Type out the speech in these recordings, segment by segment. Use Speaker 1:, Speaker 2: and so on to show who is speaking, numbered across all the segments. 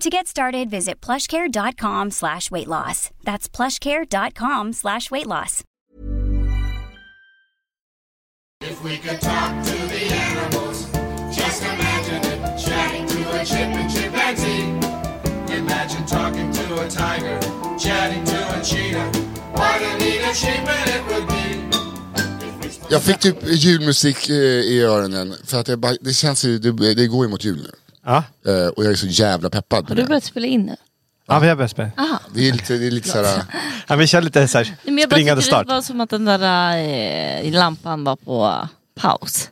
Speaker 1: To get started, visit plushcare.com slash weight loss. That's plushcare.com slash weight loss.
Speaker 2: If we could talk to the animals, just imagine it. Chatting to a chip and chimpanzee. Imagine talking to a tiger, chatting to a cheetah. What a neat achievement it would be.
Speaker 3: Jag fick typ julmusik eh, i öronen, för att jag bara, det känns ju, det, det går ju mot jul nu.
Speaker 4: Ja,
Speaker 3: Eh, och jag är så jävla peppad på
Speaker 5: Har du
Speaker 3: det.
Speaker 5: börjat spela in nu?
Speaker 4: ja vi har börjat spela.
Speaker 3: Det är lite, det är lite såhär,
Speaker 4: Ja, vi kör lite så här,
Speaker 5: Ah. Nej, Men jag bara
Speaker 4: springande
Speaker 5: tyckte
Speaker 4: start.
Speaker 5: Det var som att den där eh, lampan var på paus.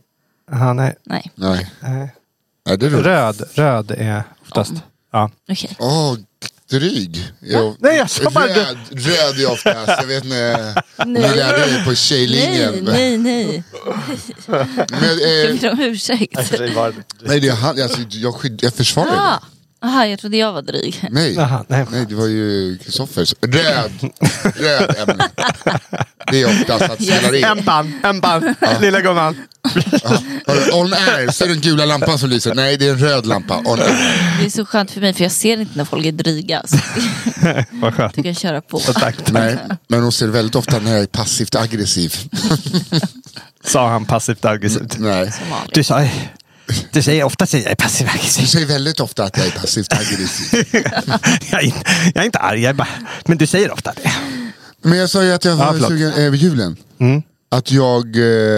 Speaker 4: Ja, nej.
Speaker 5: Nej,
Speaker 3: nej.
Speaker 4: Nej.
Speaker 3: nej det är roligt.
Speaker 4: Röd, röd är oftast. Ja.
Speaker 5: okej.
Speaker 3: Åh, dryg. Jag,
Speaker 4: Nej, jag sa bara-
Speaker 3: röd, röd är oftast, jag vet inte. Ni
Speaker 5: Nej.
Speaker 3: lärde er på
Speaker 5: Nej,
Speaker 3: tjejlinjen.
Speaker 5: nej, nej.
Speaker 3: Men,
Speaker 5: Jag
Speaker 3: eh,
Speaker 5: ber om ursäkt.
Speaker 3: nej, det är han, alltså, jag, skyd, jag försvarar
Speaker 5: Ja.
Speaker 3: det.
Speaker 5: Aha, jag trodde jag var dryg.
Speaker 3: Nej.
Speaker 4: Jaha, nej.
Speaker 3: Nej, det var ju Kristoffers. Röd, röd ämne. Det är oftast att spela in.
Speaker 4: En band, en band, lilla gumman.
Speaker 3: Hörru, On air, ser du den gula lampan som lyser? Nej, det är en röd lampa. On air.
Speaker 5: Det är så skönt för mig för jag ser inte när folk är dryga. Så
Speaker 4: Vad skönt.
Speaker 5: du kan köra på.
Speaker 4: Tack,
Speaker 3: Nej, men hon ser väldigt ofta när jag är passivt aggressiv.
Speaker 4: sa han passivt aggressivt.
Speaker 3: Nej.
Speaker 4: Du sa du säger ofta att jag är passiv
Speaker 3: Du
Speaker 4: aggressiv.
Speaker 3: säger väldigt ofta att jag är passivt aggressiv.
Speaker 4: Jag är, inte- jag är inte arg, jag är bara, men du säger ofta det.
Speaker 3: Men jag sa ju att jag
Speaker 4: Ja,
Speaker 3: var
Speaker 4: förlåt. Mm.
Speaker 3: sugen eh, över julen. Att jag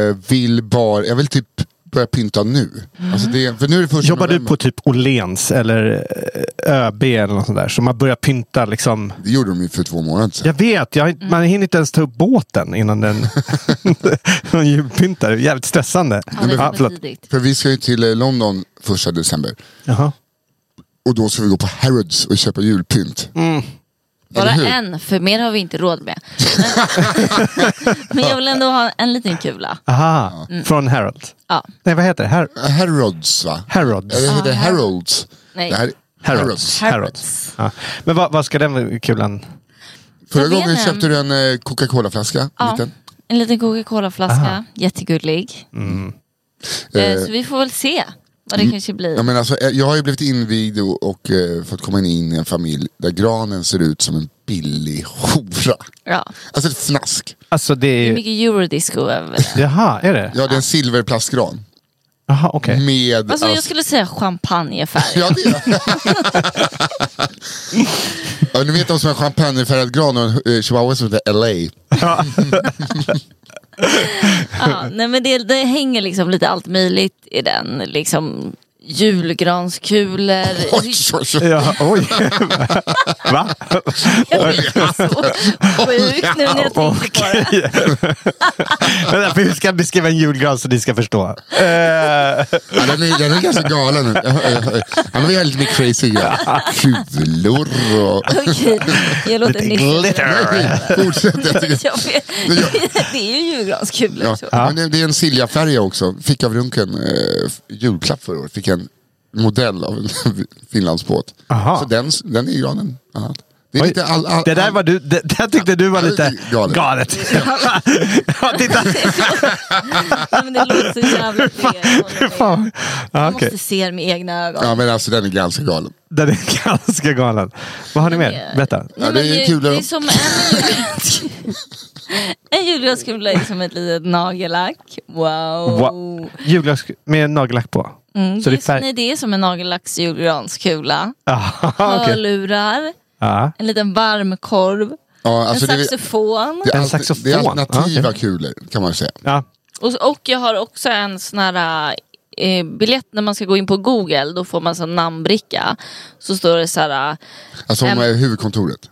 Speaker 3: eh, vill bara, jag vill typ börja pynta nu. Alltså det, är- för nu är det första
Speaker 4: Jobbar du
Speaker 3: november.
Speaker 4: på typ Åhléns eller eh, ÖB eller något sånt där? Så man börjar pynta liksom.
Speaker 3: Det gjorde de ju för två månader sedan.
Speaker 4: Jag vet, jag, har inte- man hinner inte ens ta upp båten innan den någon julpyntar. Det är Jävligt stressande.
Speaker 5: Ja, det
Speaker 4: Ja,
Speaker 5: är för
Speaker 4: förlåt.
Speaker 5: tidigt.
Speaker 3: För vi ska ju till eh, London första december.
Speaker 4: Jaha.
Speaker 3: Och då ska vi gå på Harrods och köpa julpynt.
Speaker 5: Bara
Speaker 3: hur?
Speaker 5: en, för mer har vi inte råd med. Men jag vill ändå ha en liten kula.
Speaker 4: Aha,
Speaker 5: Mm.
Speaker 4: från Harold.
Speaker 5: Ja.
Speaker 4: Nej, vad heter det? Har
Speaker 3: Harrods va?
Speaker 4: Harrods.
Speaker 3: Eller heter det Harrods?
Speaker 5: Ah, Nej.
Speaker 3: Det här-
Speaker 4: Harrods. Harrods. Ja. Men vad, vad ska den kulan...
Speaker 3: Förra
Speaker 5: Jag vet
Speaker 3: gången
Speaker 5: inte.
Speaker 3: köpte du en eh, Coca-Cola-flaska.
Speaker 5: Ja.
Speaker 3: liten.
Speaker 5: En liten Coca-Cola-flaska, jättegullig. Eh,
Speaker 3: Mm. Eh,
Speaker 5: Så vi får väl se vad det kanske blir.
Speaker 3: Ja, men alltså, eh, jag har ju blivit invigd och, och eh, fått komma in i en familj där granen ser ut som en billig hora.
Speaker 5: Ja.
Speaker 3: Alltså ett fnask.
Speaker 4: Alltså det
Speaker 5: Det är
Speaker 4: är...
Speaker 5: mycket eurodisco över Alltså, det.
Speaker 4: Jaha, är det?
Speaker 3: Ja, Mm. det är en silverplastgran.
Speaker 4: Jaha, okej.
Speaker 3: Med...
Speaker 5: Alltså jag
Speaker 3: ass-
Speaker 5: skulle säga champagnefärg.
Speaker 3: Ja, det är det. ja, ni vet de som har champagnefärgad gran och en eh, chihuahua som heter LA.
Speaker 5: Ja, nej men det, det hänger liksom lite allt möjligt i den. Liksom julgranskulor.
Speaker 3: Oj, oj, oj.
Speaker 4: Ja, oj. Va?
Speaker 5: Jag blir så sjuk nu när jag tänker på det.
Speaker 4: Okej. Vänta, för hur ska jag beskriva en julgran så ni ska förstå?
Speaker 3: Ja, den, är, den är ganska galen. Han har ju lite mer crazy grejer. Kulor och...
Speaker 5: Okej, jag låter
Speaker 4: Lite
Speaker 5: nisse.
Speaker 4: glitter.
Speaker 3: Fortsätt. Jag tycker-
Speaker 5: Jag vet. Det är ju julgranskulor.
Speaker 3: Ja.
Speaker 5: så.
Speaker 3: Men det, det är en Silja-färja också. Fick av Runken eh, f- julklapp förra året. Fick en modell av en Finlandsbåt.
Speaker 4: Aha.
Speaker 3: Så den, s- den är i granen. Ja. Det är
Speaker 4: Oj,
Speaker 3: lite all, all,
Speaker 4: Det där var du, det, det här tyckte du var lite
Speaker 3: Galet.
Speaker 4: galet. Ja, titta.
Speaker 5: Nej, men det låter så jävla fel.
Speaker 4: Fan. Ja,
Speaker 5: Jag
Speaker 4: okej.
Speaker 5: måste se det med egna ögon.
Speaker 3: Ja men alltså den är ganska galen.
Speaker 4: Den är ganska galen. Vad har ni mer? Berätta.
Speaker 3: Ja, det
Speaker 5: Nej,
Speaker 3: är
Speaker 5: men
Speaker 3: kul,
Speaker 5: det
Speaker 3: då.
Speaker 5: är som en julgranskula. en julgranskula är som ett litet nagellack. Wow.
Speaker 4: Wow. Julglas med nagellack på.
Speaker 5: Oh. Mm,
Speaker 4: Så
Speaker 5: det, är,
Speaker 4: det är färg-
Speaker 5: nej, det är som en nagellacks julgranskula.
Speaker 4: Aha, Ah, okej.
Speaker 5: Hörlurar,
Speaker 4: Ja.
Speaker 5: en liten varmkorv.
Speaker 3: Ja, alltså det
Speaker 5: en
Speaker 3: är-
Speaker 5: saxofon.
Speaker 3: Det är,
Speaker 4: En
Speaker 3: alter-
Speaker 4: saxofon?
Speaker 3: det är alternativa
Speaker 4: Ah, okej.
Speaker 3: kulor kan man säga.
Speaker 4: Ja.
Speaker 5: Och, och jag har också en sån här eh, biljett när man ska gå in på Google. Då får man en sån namnbricka. Så står det så här.
Speaker 3: Alltså
Speaker 5: Em-
Speaker 3: om man är i huvudkontoret.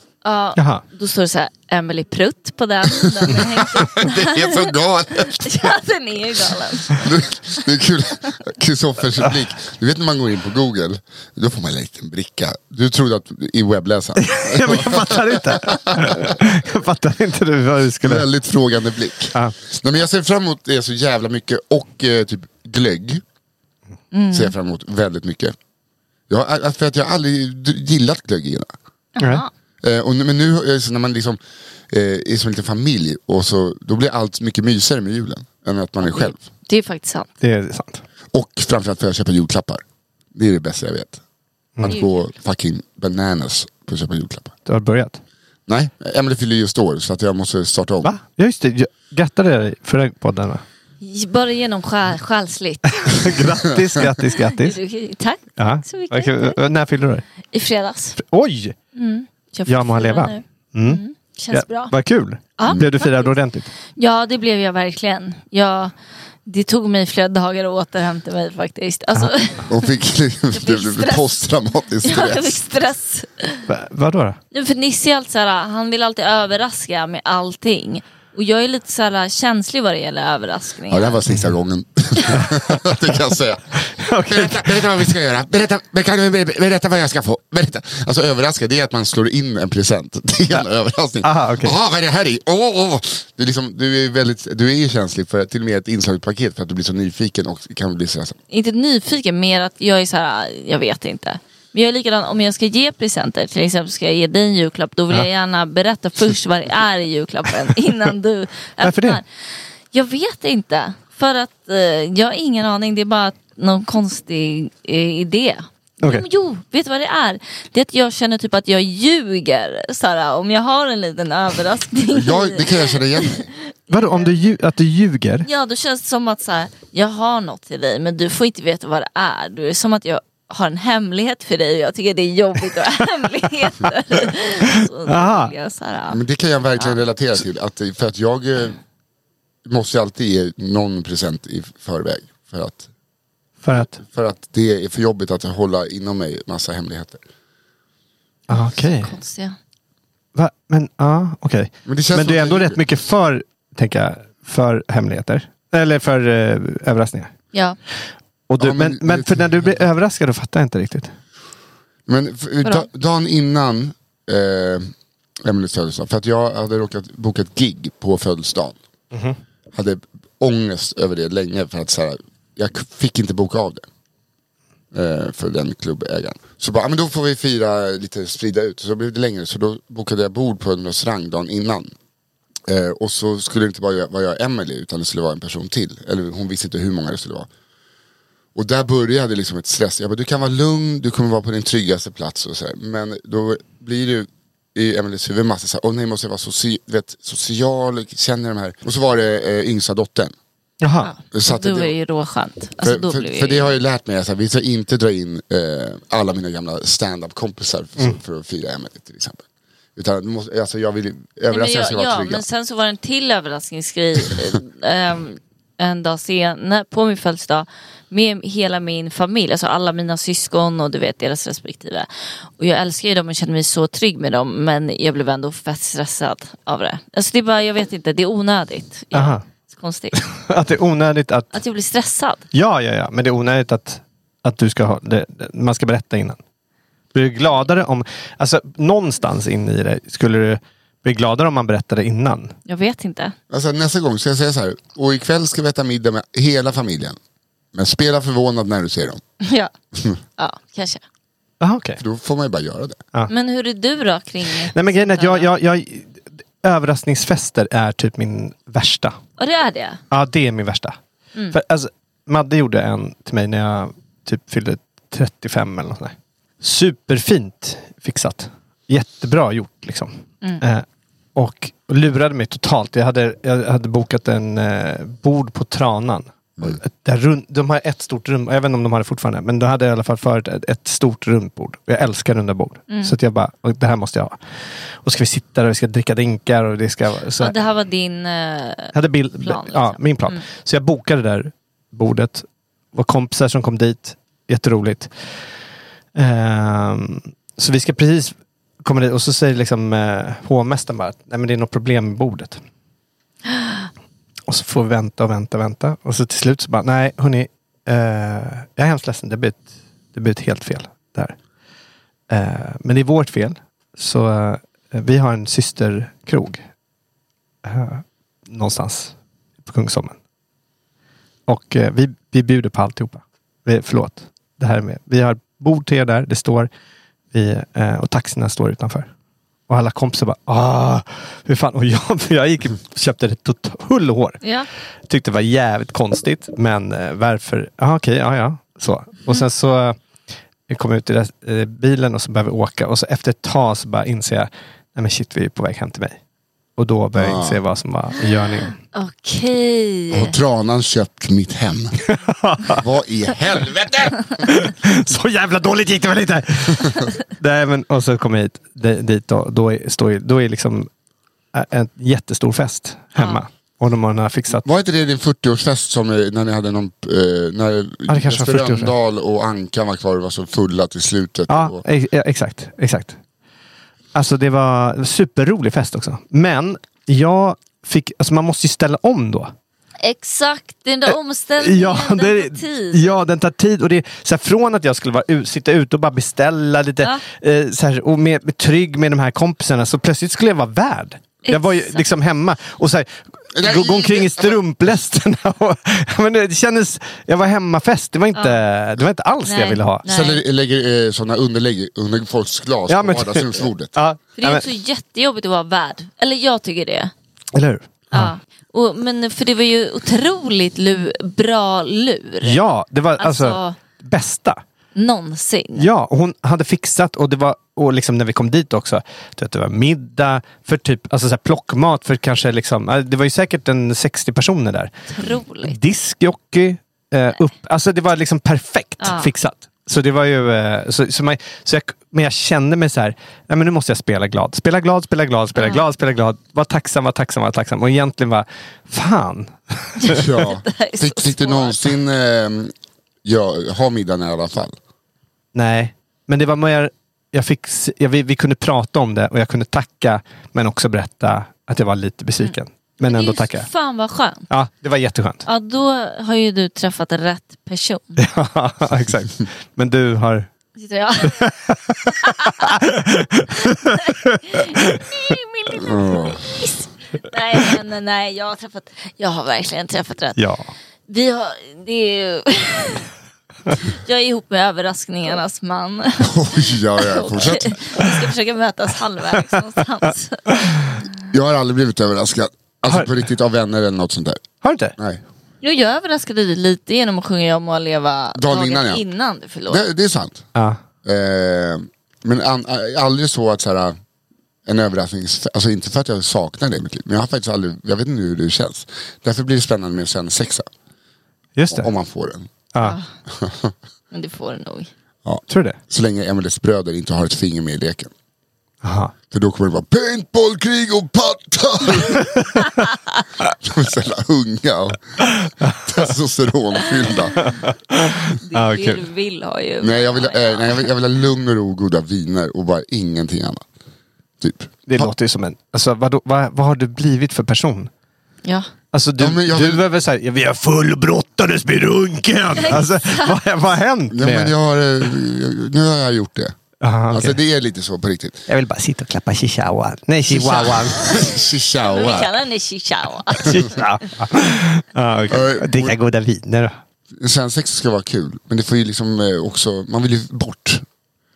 Speaker 4: Jaha.
Speaker 5: Då står det så här Emily Prutt på den. den är hängd upp.
Speaker 3: Det är så galet.
Speaker 5: ja, den är ju galen.
Speaker 3: Det är kul, Kristoffers blick. Du vet när man går in på Google, då får man en liten bricka. Du trodde att i webbläsaren.
Speaker 4: Ja, men jag fattar inte. jag fattar inte du vad du skulle...
Speaker 3: Väldigt frågande blick.
Speaker 4: Ja.
Speaker 3: Nej, men jag ser fram emot det så jävla mycket och eh, typ glögg. Ser jag fram emot väldigt mycket. Jag, har- för att jag har aldrig d- gillat glögg innan.
Speaker 4: Ja.
Speaker 3: Eh, och, nu- men nu eh, så när man liksom eh, är som en liten familj, och så, då blir allt mycket mysigare med julen. Än att man är själv.
Speaker 5: Det är faktiskt sant.
Speaker 4: Det är sant.
Speaker 3: Och framförallt för att köpa julklappar. Det är det bästa jag vet. Att gå fucking bananas på att köpa julklappar.
Speaker 4: Du har börjat.
Speaker 3: Nej, Emelie fyller just år så att jag måste starta om.
Speaker 4: Va? Ja, just det. Jag grattade dig förra podden. va?
Speaker 5: Bara genom själ- själsligt.
Speaker 4: grattis, grattis, grattis.
Speaker 5: Tack
Speaker 4: Ja.
Speaker 5: så mycket.
Speaker 4: Okej,
Speaker 5: Tack.
Speaker 4: När fyller du dig?
Speaker 5: I fredags.
Speaker 4: Oj!
Speaker 5: Jag,
Speaker 4: Ja, må han
Speaker 5: fyller
Speaker 4: leva.
Speaker 5: nu.
Speaker 4: Mm.
Speaker 5: Känns
Speaker 4: Ja,
Speaker 5: bra.
Speaker 4: Vad kul.
Speaker 5: Ja,
Speaker 4: Blev du firad ordentligt?
Speaker 5: Ja, det blev jag verkligen. Jag, det tog mig flera dagar att återhämta mig faktiskt. Alltså,
Speaker 3: Och fick det blev
Speaker 5: stress.
Speaker 3: posttraumatisk
Speaker 5: jag fick
Speaker 3: stress.
Speaker 5: stress.
Speaker 4: Va, vadå då?
Speaker 5: Ja, För Nisse är alltid så här, han vill alltid överraska med allting. Och jag är lite så här känslig vad det gäller överraskningar.
Speaker 3: Ja, det här var sista gången. det kan jag säga. Berätta, berätta vad vi ska göra. Berätta, kan du ber- berätta vad jag ska få. Berätta. Alltså överraska, det är att man slår in en present. Det är en överraskning.
Speaker 4: Aha, okej.
Speaker 3: Aha, vad är det här i? Åh, åh. Du, är liksom, du, är väldigt, du är ju känslig för till och med ett inslaget paket för att du blir så nyfiken och kan bli stressad.
Speaker 5: Inte nyfiken, mer att jag är så här, jag vet inte. Men jag är likadan om jag ska ge presenter, till exempel ska jag ge dig en julklapp, då vill jag gärna berätta först vad det är i julklappen innan du öppnar.
Speaker 4: Varför det?
Speaker 5: Jag vet inte. För att eh, jag har ingen aning, det är bara någon konstig eh, idé.
Speaker 4: Okej.
Speaker 5: Jo, jo, vet du vad det är? Det är att jag känner typ att jag ljuger, Sara, om jag har en liten överraskning.
Speaker 3: Jag, det kan jag känna igen mig
Speaker 4: Vadå, om du, lju- att du ljuger?
Speaker 5: Ja, då känns det som att så här, jag har något till dig men du får inte veta vad det är. Du är det som att jag har en hemlighet för dig och jag tycker det är jobbigt att ha hemligheter. Så då
Speaker 4: Aha.
Speaker 5: vill jag så
Speaker 3: Ja,
Speaker 5: här,
Speaker 3: Men det kan jag verkligen relatera till. Att, för att jag eh, måste ju alltid ge någon present i förväg. För att,
Speaker 4: För att?
Speaker 3: för att det är för jobbigt att hålla inom mig massa hemligheter.
Speaker 4: Ah, Okej.
Speaker 5: konstiga.
Speaker 4: Va? Men ja, okej.
Speaker 3: Men det känns
Speaker 4: Men
Speaker 3: som
Speaker 4: du är
Speaker 3: att
Speaker 4: ändå
Speaker 3: jag
Speaker 4: rätt
Speaker 3: ljuger.
Speaker 4: mycket för, tänker jag, för hemligheter. Eller för eh, överraskningar.
Speaker 5: Ja,
Speaker 4: Och du,
Speaker 3: Ja, men
Speaker 4: men,
Speaker 3: det-
Speaker 4: men för när du blir överraskad då fattar jag inte riktigt.
Speaker 3: Men f- da, dagen innan eh, Emelies födelsedag, för att jag hade råkat boka ett gig på födelsedagen. Hade ångest över det länge för att så här, jag k- fick inte boka av det. Eh, för den klubbägaren. Så bara, "Ah, men då får vi fira lite, sprida ut. Så blev det längre, så då bokade jag bord på en restaurang dagen innan. Eh, och så skulle det inte bara vara jag och Emily utan det skulle vara en person till. Eller hon visste inte hur många det skulle vara. Och där började liksom ett stress. Jag bara, du kan vara lugn, du kommer vara på din tryggaste plats och så här. Men då blir du i Emelies huvud massa så här, åh nej måste jag vara soci- vet, social, känner de här. Och så var det eh, yngsta dottern.
Speaker 4: Jaha.
Speaker 3: Så att
Speaker 5: då är
Speaker 3: det-
Speaker 5: det ju råskönt. Alltså, då
Speaker 3: för,
Speaker 5: blir
Speaker 3: för, för
Speaker 5: det
Speaker 3: det
Speaker 5: ju-
Speaker 3: har jag ju lärt mig, att vi ska inte dra in eh, alla mina gamla stand-up-kompisar för, för att fira Emelie till exempel. Utan du måste, alltså jag vill
Speaker 5: Nej, men
Speaker 3: överraska
Speaker 5: jag-
Speaker 3: ska vara
Speaker 5: ja,
Speaker 3: trygga.
Speaker 5: men sen så var det en till överraskningsgrej eh, ehm, en dag senare på min födelsedag med hela min familj, alltså alla mina syskon och du vet deras respektive. Och jag älskar ju dem och känner mig så trygg med dem men jag blev ändå fett stressad av det. Alltså det är bara, jag vet inte, det är onödigt. Ja,
Speaker 4: Aha.
Speaker 5: det är konstigt.
Speaker 4: Att det är onödigt att...
Speaker 5: Att jag blir stressad.
Speaker 4: Ja, ja, ja. Men det är onödigt att, att du ska ha, det, det- man ska berätta innan. Blir du gladare om... Alltså någonstans in i dig skulle du bli gladare om man berättade innan.
Speaker 5: Jag vet inte.
Speaker 3: Alltså, nästa gång ska jag säga så här, och ikväll ska vi äta middag med hela familjen. Men spela förvånad när du ser dem.
Speaker 5: Ja, ja kanske.
Speaker 4: Jaha, Ah, okej.
Speaker 3: Då får man ju bara göra det.
Speaker 5: Men hur är du då kring...
Speaker 4: Nej, men grejen är att jag, jag, jag... Överraskningsfester är typ min värsta.
Speaker 5: Och det är det?
Speaker 4: Ja, det är min värsta.
Speaker 5: Mm.
Speaker 4: För, alltså, Madde gjorde en till mig när jag typ fyllde 35 eller något sånt där. Superfint fixat. Jättebra gjort liksom.
Speaker 5: Mm.
Speaker 4: Eh, och lurade mig totalt. Jag hade, jag hade bokat en eh, bord på Tranan. Och Där rund, de har ett stort rum, jag vet inte om de har det fortfarande, men de hade i alla fall förut ett, ett stort runt bord. Jag älskar runda bord.
Speaker 5: Mm.
Speaker 4: Så att jag bara, och det här måste jag ha. Och ska vi sitta där och vi ska dricka drinkar och det ska vara så
Speaker 5: Ja,
Speaker 4: här.
Speaker 5: det här var din... eh,
Speaker 4: Jag hade bil,
Speaker 5: Plan,
Speaker 4: ja,
Speaker 5: liksom.
Speaker 4: min plan.
Speaker 5: Mm.
Speaker 4: Så jag bokade det där bordet. Det var kompisar som kom dit. Jätteroligt. Ehm, så vi ska precis komma dit och så säger liksom eh, hovmästaren bara att nej men det är något problem med bordet. Och så får vi vänta och vänta och vänta. Och så till slut så bara nej hörni, eh, jag är hemskt ledsen. Det blev ett, det blev ett helt fel där. Eh, men det är vårt fel. Så eh, vi har en systerkrog eh, någonstans på Kungsholmen. Och eh, vi, vi bjuder på alltihopa. Vi, förlåt, det här är med. Vi har bord till er där, det står. Vi, eh, och taxierna står utanför. Och alla kompisar bara, ah, hur fan. Och jag, jag gick och köpte det tot hull och hår.
Speaker 5: Ja.
Speaker 4: Tyckte det var jävligt konstigt, men eh, varför? Ja, okej, ja, ja. Så. Och sen så eh, vi kom ut i rest- eh, bilen och så började vi åka. Och så efter ett tag så bara inser jag, nej men shit, vi är på väg hem till mig. Och då började jag
Speaker 3: Ah.
Speaker 4: inse vad som var i görningen.
Speaker 5: Okej.
Speaker 3: Har tranan köpt mitt hem? Vad i helvete?
Speaker 4: Så jävla dåligt gick det väl inte? Nej, men, och så kom jag hit, di- dit då, då, är, står, ju- då är liksom ä- en jättestor fest hemma. Och de har fixat.
Speaker 3: Var inte det din 40-årsfest som eh, när ni hade någon... Eh, när
Speaker 4: Ja, det kanske
Speaker 3: Jesper
Speaker 4: var 40-årsfest.
Speaker 3: Rönndahl och Ankan var kvar och var så fulla till slutet.
Speaker 4: Ja,
Speaker 3: Och,
Speaker 4: e- ja, exakt. exakt. Alltså det var en superrolig fest också. Men jag fick, alltså man måste ju ställa om då.
Speaker 5: Exakt, den där omställningen,
Speaker 4: Eh, Ja,
Speaker 5: den
Speaker 4: det,
Speaker 5: tar tid.
Speaker 4: ja, den tar tid. Och det, är så här, från att jag skulle vara, ut- sitta ute och bara beställa lite eh, så här, och med, med, trygg med de här kompisarna så plötsligt skulle jag vara värd. Jag var ju
Speaker 5: Exakt.
Speaker 4: liksom hemma och så här,
Speaker 3: Nej,
Speaker 4: gå, gå omkring i strumplästerna. Och, men det det kändes, jag var hemmafest, det var inte, det var inte alls det jag
Speaker 5: Nej.
Speaker 4: ville ha.
Speaker 5: Nej.
Speaker 3: Sen lä- lägger eh, sådana underlägg under folks glas
Speaker 4: Ja,
Speaker 3: på
Speaker 4: men-
Speaker 3: vardagsrumsbordet.
Speaker 4: Ja,
Speaker 5: För det
Speaker 4: ja,
Speaker 5: är
Speaker 4: men,
Speaker 5: också jättejobbigt att vara värd. Eller jag tycker det.
Speaker 4: eller hur?
Speaker 5: Ja. Och, men för det var ju otroligt lu- bra lur.
Speaker 4: Ja, det var alltså,
Speaker 5: Alltså-
Speaker 4: bästa.
Speaker 5: Någonsin.
Speaker 4: Ja, och hon hade fixat och det var och liksom när vi kom dit också. Du vet, det var middag för typ alltså så här plockmat för kanske liksom. eh, Det var ju säkert en 60 personer där.
Speaker 5: Otroligt.
Speaker 4: Diskjockey. Eh, upp, alltså det var liksom perfekt
Speaker 5: Ja.
Speaker 4: fixat. Så det var ju... Eh, så, så man, så jag, men jag kände mig så här, nej men nu måste jag spela glad. Spela glad, spela glad, spela glad, spela glad. Var tacksam, var tacksam, var tacksam. Och egentligen var fan.
Speaker 3: Ja.
Speaker 5: här är
Speaker 3: Fick,
Speaker 5: så
Speaker 3: fick du
Speaker 5: svårt.
Speaker 3: någonsin eh, ja, ha middagen i alla fall?
Speaker 4: Nej, men det var mer... Jag fick, s- jag, vi, vi kunde prata om det och jag kunde tacka, men också berätta att jag var lite besviken. Men
Speaker 5: Det är
Speaker 4: ändå
Speaker 5: ju
Speaker 4: tacka.
Speaker 5: Fan vad skönt.
Speaker 4: Ja, det var jätteskönt.
Speaker 5: Ja, då har ju du träffat rätt person.
Speaker 4: Ja, exakt. Men du har...
Speaker 5: Sitter jag? Min lilla gris. Nej, nej, nej, nej, jag har träffat, jag har verkligen träffat rätt.
Speaker 4: Ja.
Speaker 5: Vi har, det är ju... Jag är ihop med överraskningarnas man.
Speaker 3: Oj, ja, ja,
Speaker 5: Och
Speaker 3: fortsätt.
Speaker 5: Vi ska försöka mötas halvvägs någonstans.
Speaker 3: Jag har aldrig blivit överraskad. Alltså
Speaker 4: Har-
Speaker 3: på riktigt av vänner eller något sånt där.
Speaker 4: Har du inte?
Speaker 3: Nej.
Speaker 5: Jag, jag överraskade dig lite genom att sjunga Jag må leva
Speaker 3: Dagen innan, ja.
Speaker 5: innan du förlorade.
Speaker 3: Det, det är sant.
Speaker 4: Ja.
Speaker 3: Eh, men an, a- aldrig så att så här, en överraskning, alltså inte för att jag saknar det i mitt liv, men jag har faktiskt aldrig, jag vet inte hur det känns. Därför blir det spännande med en sexa
Speaker 4: Just
Speaker 3: om
Speaker 4: det.
Speaker 3: man får den.
Speaker 4: Ja.
Speaker 5: Men det får du nog.
Speaker 4: Tror du det?
Speaker 3: Så länge Emelies bröder inte har ett finger med i leken.
Speaker 4: Aha.
Speaker 3: För då kommer det vara paintballkrig och pattar! De är så jävla unga och testosteronfyllda.
Speaker 5: Det är
Speaker 4: Ah,
Speaker 5: det
Speaker 4: kul.
Speaker 5: du vill ha ju.
Speaker 3: Nej, jag vill, eh, nej jag, vill, jag vill ha lugn och ro, goda viner och bara ingenting annat. Typ.
Speaker 4: Det låter ju som en... Alltså, vad, vad, vad har du blivit för person?
Speaker 5: Ja.
Speaker 4: Alltså du,
Speaker 3: Ja, men jag
Speaker 4: du
Speaker 3: vill-
Speaker 4: är väl såhär, vi har fullbrottades med runken. Alltså, vad, vad har hänt
Speaker 3: Ja,
Speaker 4: med...
Speaker 3: men jag har, eh, nu har jag gjort det.
Speaker 4: Aha, okej.
Speaker 3: Alltså det är lite så på riktigt.
Speaker 4: jag vill bara sitta och klappa chihuahuan. Nej, chihuahuan.
Speaker 5: Men vi
Speaker 3: Chihuahua.
Speaker 5: kallar henne Chihuahua.
Speaker 4: Chihuahua. ah, okay.
Speaker 3: Eh,
Speaker 4: Dricka goda viner.
Speaker 3: Svensex ska vara kul, men det får ju liksom eh, också, man vill ju bort.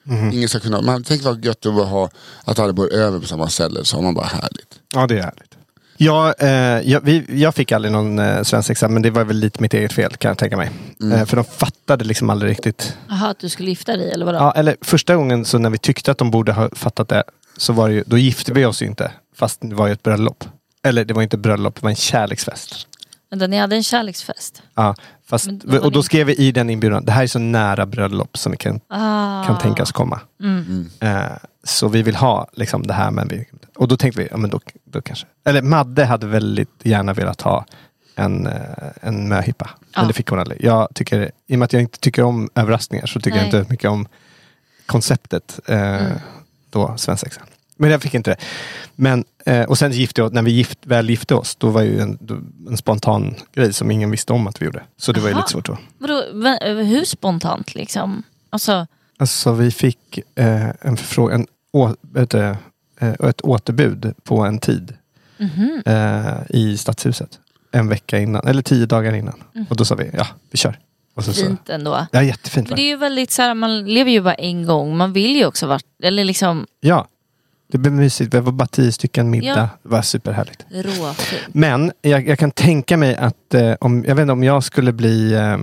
Speaker 4: Mhm.
Speaker 3: Ingen ska kunna, man tänker vad gött det var att ha, att alla bor över på samma ställe, så har man bara härligt.
Speaker 4: Ja, det är härligt. Jag, eh, jag, vi, jag fick aldrig någon eh, svensexa, men det var väl lite mitt eget fel kan jag tänka mig. Eh, för de fattade liksom aldrig riktigt.
Speaker 5: Jaha, att du skulle gifta dig eller vadå?
Speaker 4: Ja, eller första gången så när vi tyckte att de borde ha fattat det, så var det ju, då gifte vi oss ju inte. Fast det var ju ett bröllop. Eller det var inte ett bröllop, det var en kärleksfest.
Speaker 5: Vänta, ni hade en kärleksfest?
Speaker 4: Ja, fast,
Speaker 5: Men det var
Speaker 4: och då
Speaker 5: inte-
Speaker 4: skrev vi i den inbjudan, det här är så nära bröllop som vi kan,
Speaker 5: Ah. Mm.
Speaker 4: kan tänkas komma. Eh, så vi vill ha liksom, det här. Men vi, och då tänkte vi, ja, men då, då kanske. Eller Madde hade väldigt gärna velat ha en, eh, en möhippa. Men
Speaker 5: Ja.
Speaker 4: det fick hon aldrig. Jag tycker, I och med att jag inte tycker om överraskningar så tycker
Speaker 5: Nej. Mm.
Speaker 4: jag inte mycket om konceptet. Eh, Då svensexan. Men jag fick inte det. Men, eh, och sen gifte jag, när vi gift, väl gifte oss, då var ju en, då, en spontan grej som ingen visste om att vi gjorde. Så det var ju
Speaker 5: Aha.
Speaker 4: lite svårt då.
Speaker 5: Vadå, vä- hur spontant liksom? Alltså,
Speaker 4: Alltså vi fick eh, en förfrågan, en, å, ett, eh, ett återbud på en tid
Speaker 5: mhm.
Speaker 4: eh, i Stadshuset. En vecka innan, eller tio dagar innan. Och då sa vi, ja vi kör. Och
Speaker 3: Alltså.
Speaker 4: så, så,
Speaker 5: Mhm. fint ändå.
Speaker 4: ja jättefint.
Speaker 5: För
Speaker 4: var
Speaker 5: det
Speaker 4: det...
Speaker 5: är ju väldigt så här, man lever ju bara en gång. Man vill ju också vart, eller liksom
Speaker 4: Ja. Det blev mysigt, det var bara tio stycken middag. Det var superhärligt.
Speaker 5: råfint.
Speaker 4: Men jag, jag kan tänka mig att eh, om, jag vet inte om jag skulle bli eh,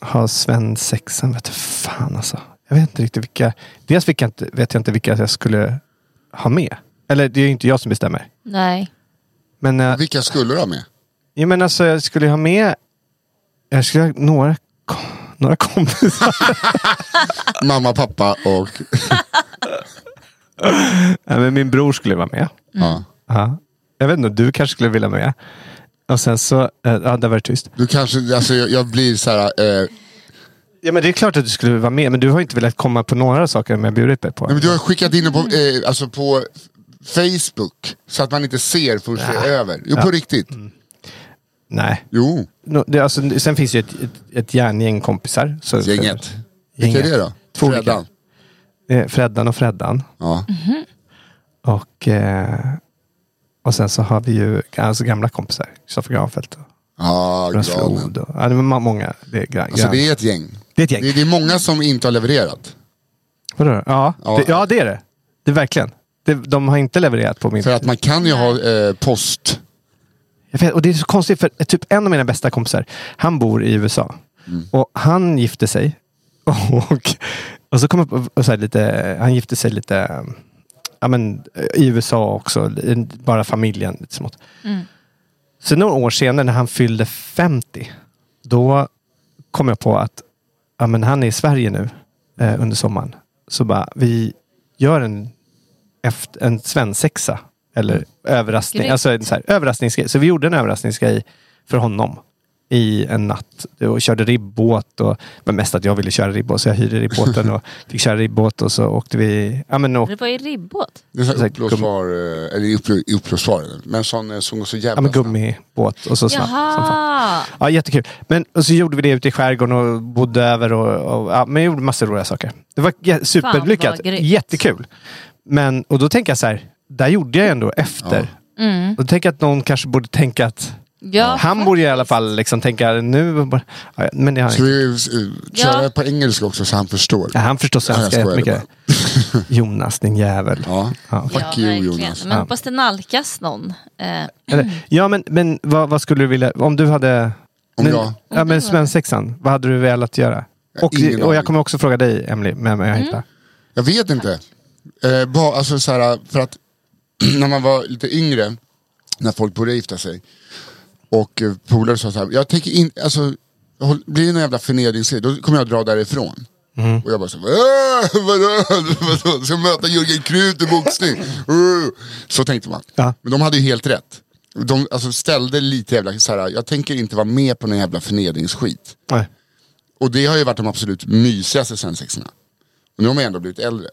Speaker 4: ha svensexan, vet du fan alltså. Jag vet inte riktigt vilka, dels vilka, inte- vet jag inte vilka jag skulle ha med. Eller det är ju inte jag som bestämmer.
Speaker 5: Nej.
Speaker 4: Men, eh,
Speaker 3: Vilka skulle du ha med?
Speaker 4: ja, men alltså, jag skulle ha med, jag skulle ha några, kom- några kompisar.
Speaker 3: Mamma, pappa och...
Speaker 5: Mm.
Speaker 4: Nej, men min bror skulle vara med.
Speaker 3: Ja.
Speaker 4: Ja. Jag vet inte, du kanske skulle vilja med. Och sen så, eh, ja där var det tyst.
Speaker 3: Du kanske, alltså jag, jag blir så här... Eh,
Speaker 4: Ja men det är klart att du skulle vara med, men du har ju inte velat komma på några saker som jag bjudit dig på.
Speaker 3: nej, men du har skickat in det på, eh, alltså på Facebook så att man inte ser förrän det är över. Jo, på riktigt.
Speaker 4: Mm. Nej.
Speaker 3: Jo,
Speaker 4: No, det, alltså, sen finns det ju ett, ett, ett järngäng kompisar. Så,
Speaker 3: gänget. Vilka
Speaker 4: Gänget.
Speaker 3: är det då?
Speaker 4: Två olika.
Speaker 3: Freddan.
Speaker 4: Eh, Freddan och Freddan.
Speaker 3: Ja.
Speaker 4: Och, eh, och sen så har vi ju alltså, gamla kompisar. Kristoffer Granfeldt och
Speaker 3: Ja,
Speaker 4: Jonas
Speaker 3: granen.
Speaker 4: Flood. och- Ja, det var ma- många. Det är, gran,
Speaker 3: Alltså
Speaker 4: gran.
Speaker 3: det är ett gäng.
Speaker 4: Det är ett gäng.
Speaker 3: Det, det är många som inte har levererat.
Speaker 4: Vadå? Ja,
Speaker 3: Ja.
Speaker 4: Det, ja, det är det. Det är verkligen. Det, de har inte levererat på min...
Speaker 3: För att man kan ju ha eh, post.
Speaker 4: Jag vet, och det är så konstigt för typ en av mina bästa kompisar, han bor i USA.
Speaker 3: Mm.
Speaker 4: Och han gifte sig. Och, och så kom upp och så här lite, han gifte sig lite eh, ja, men, eh, i USA också. i- Bara familjen lite smått. Så några år senare när han fyllde 50. Då kom jag på att ja, men han är i Sverige nu eh, under sommaren. Så bara, vi gör en, efter, en svensexa. Eller överraskning.
Speaker 5: Grymt.
Speaker 4: Alltså en så här, överraskningsgrej. Så vi gjorde en överraskningsgrej för honom. I en natt. Och körde ribbåt. Och, men mest att jag ville köra ribbåt. Så jag hyrde ribbåten och fick köra ribbåt. Och så åkte vi... Ja, men, och,
Speaker 5: Det var ju ribbåt.
Speaker 3: Det är så
Speaker 4: Så
Speaker 3: här
Speaker 4: här
Speaker 3: uppblåsbar, eh, eller upplå- uppblåsbar, men sån eh, som går så
Speaker 4: ja,
Speaker 3: jävla
Speaker 4: men
Speaker 3: snabbt.
Speaker 4: gummibåt. Och så
Speaker 3: Alltså,
Speaker 4: snabbt. som fan.
Speaker 5: Jaha!
Speaker 4: Ja, jättekul. Men och så gjorde vi det ute i skärgården och bodde över och, och ja, men gjorde massa roliga saker. Det var jä- superlyckat.
Speaker 5: vad grymt.
Speaker 4: Jättekul. Men, och då tänker jag så här, där gjorde jag ändå efter. Och då tänker jag att någon kanske borde tänka att
Speaker 5: Mm. Ja,
Speaker 4: han borde i alla fall liksom tänka nu. bara- Ja, men det har han
Speaker 3: Ska
Speaker 4: inte.
Speaker 3: vi eh, köra
Speaker 5: Ja.
Speaker 3: på engelska också så han förstår?
Speaker 4: Ja, han förstår
Speaker 3: Ja, jag
Speaker 4: svenska
Speaker 3: skojar
Speaker 4: jättemycket. Jonas, din jävel.
Speaker 3: Ja.
Speaker 4: Ja.
Speaker 5: Ja,
Speaker 3: Fuck you,
Speaker 5: verkligen.
Speaker 3: Jonas.
Speaker 5: Men hoppas det nalkas någon. Eh,
Speaker 4: Eller, ja, men, men vad, vad skulle du vilja, om du hade...
Speaker 3: Om
Speaker 4: nu-
Speaker 3: jag?
Speaker 4: Ja, men svensexan. Vad hade du velat göra? Och,
Speaker 3: ingen
Speaker 4: och jag
Speaker 3: aning.
Speaker 4: kommer också fråga dig, Emily, med mig jag hittar.
Speaker 3: Jag vet inte. Eh, bara, alltså, så här, för att när man var lite yngre, när folk började gifta sig, och eh, polare sa så här, jag tänker in, alltså, håll- blir det någon jävla förnedringsgrej, då kommer jag dra därifrån. Och jag bara så här, "Äh, vadå, vadå, ska jag möta Jörgen Krut i boxning? Uh." så tänkte man.
Speaker 4: Ja.
Speaker 3: Men de hade ju helt rätt. De alltså, ställde lite jävla, så här, jag tänker inte vara med på någon jävla förnedringsskit.
Speaker 4: Nej.
Speaker 3: Och det har ju varit de absolut mysigaste svensexorna. Och nu har man ändå blivit äldre.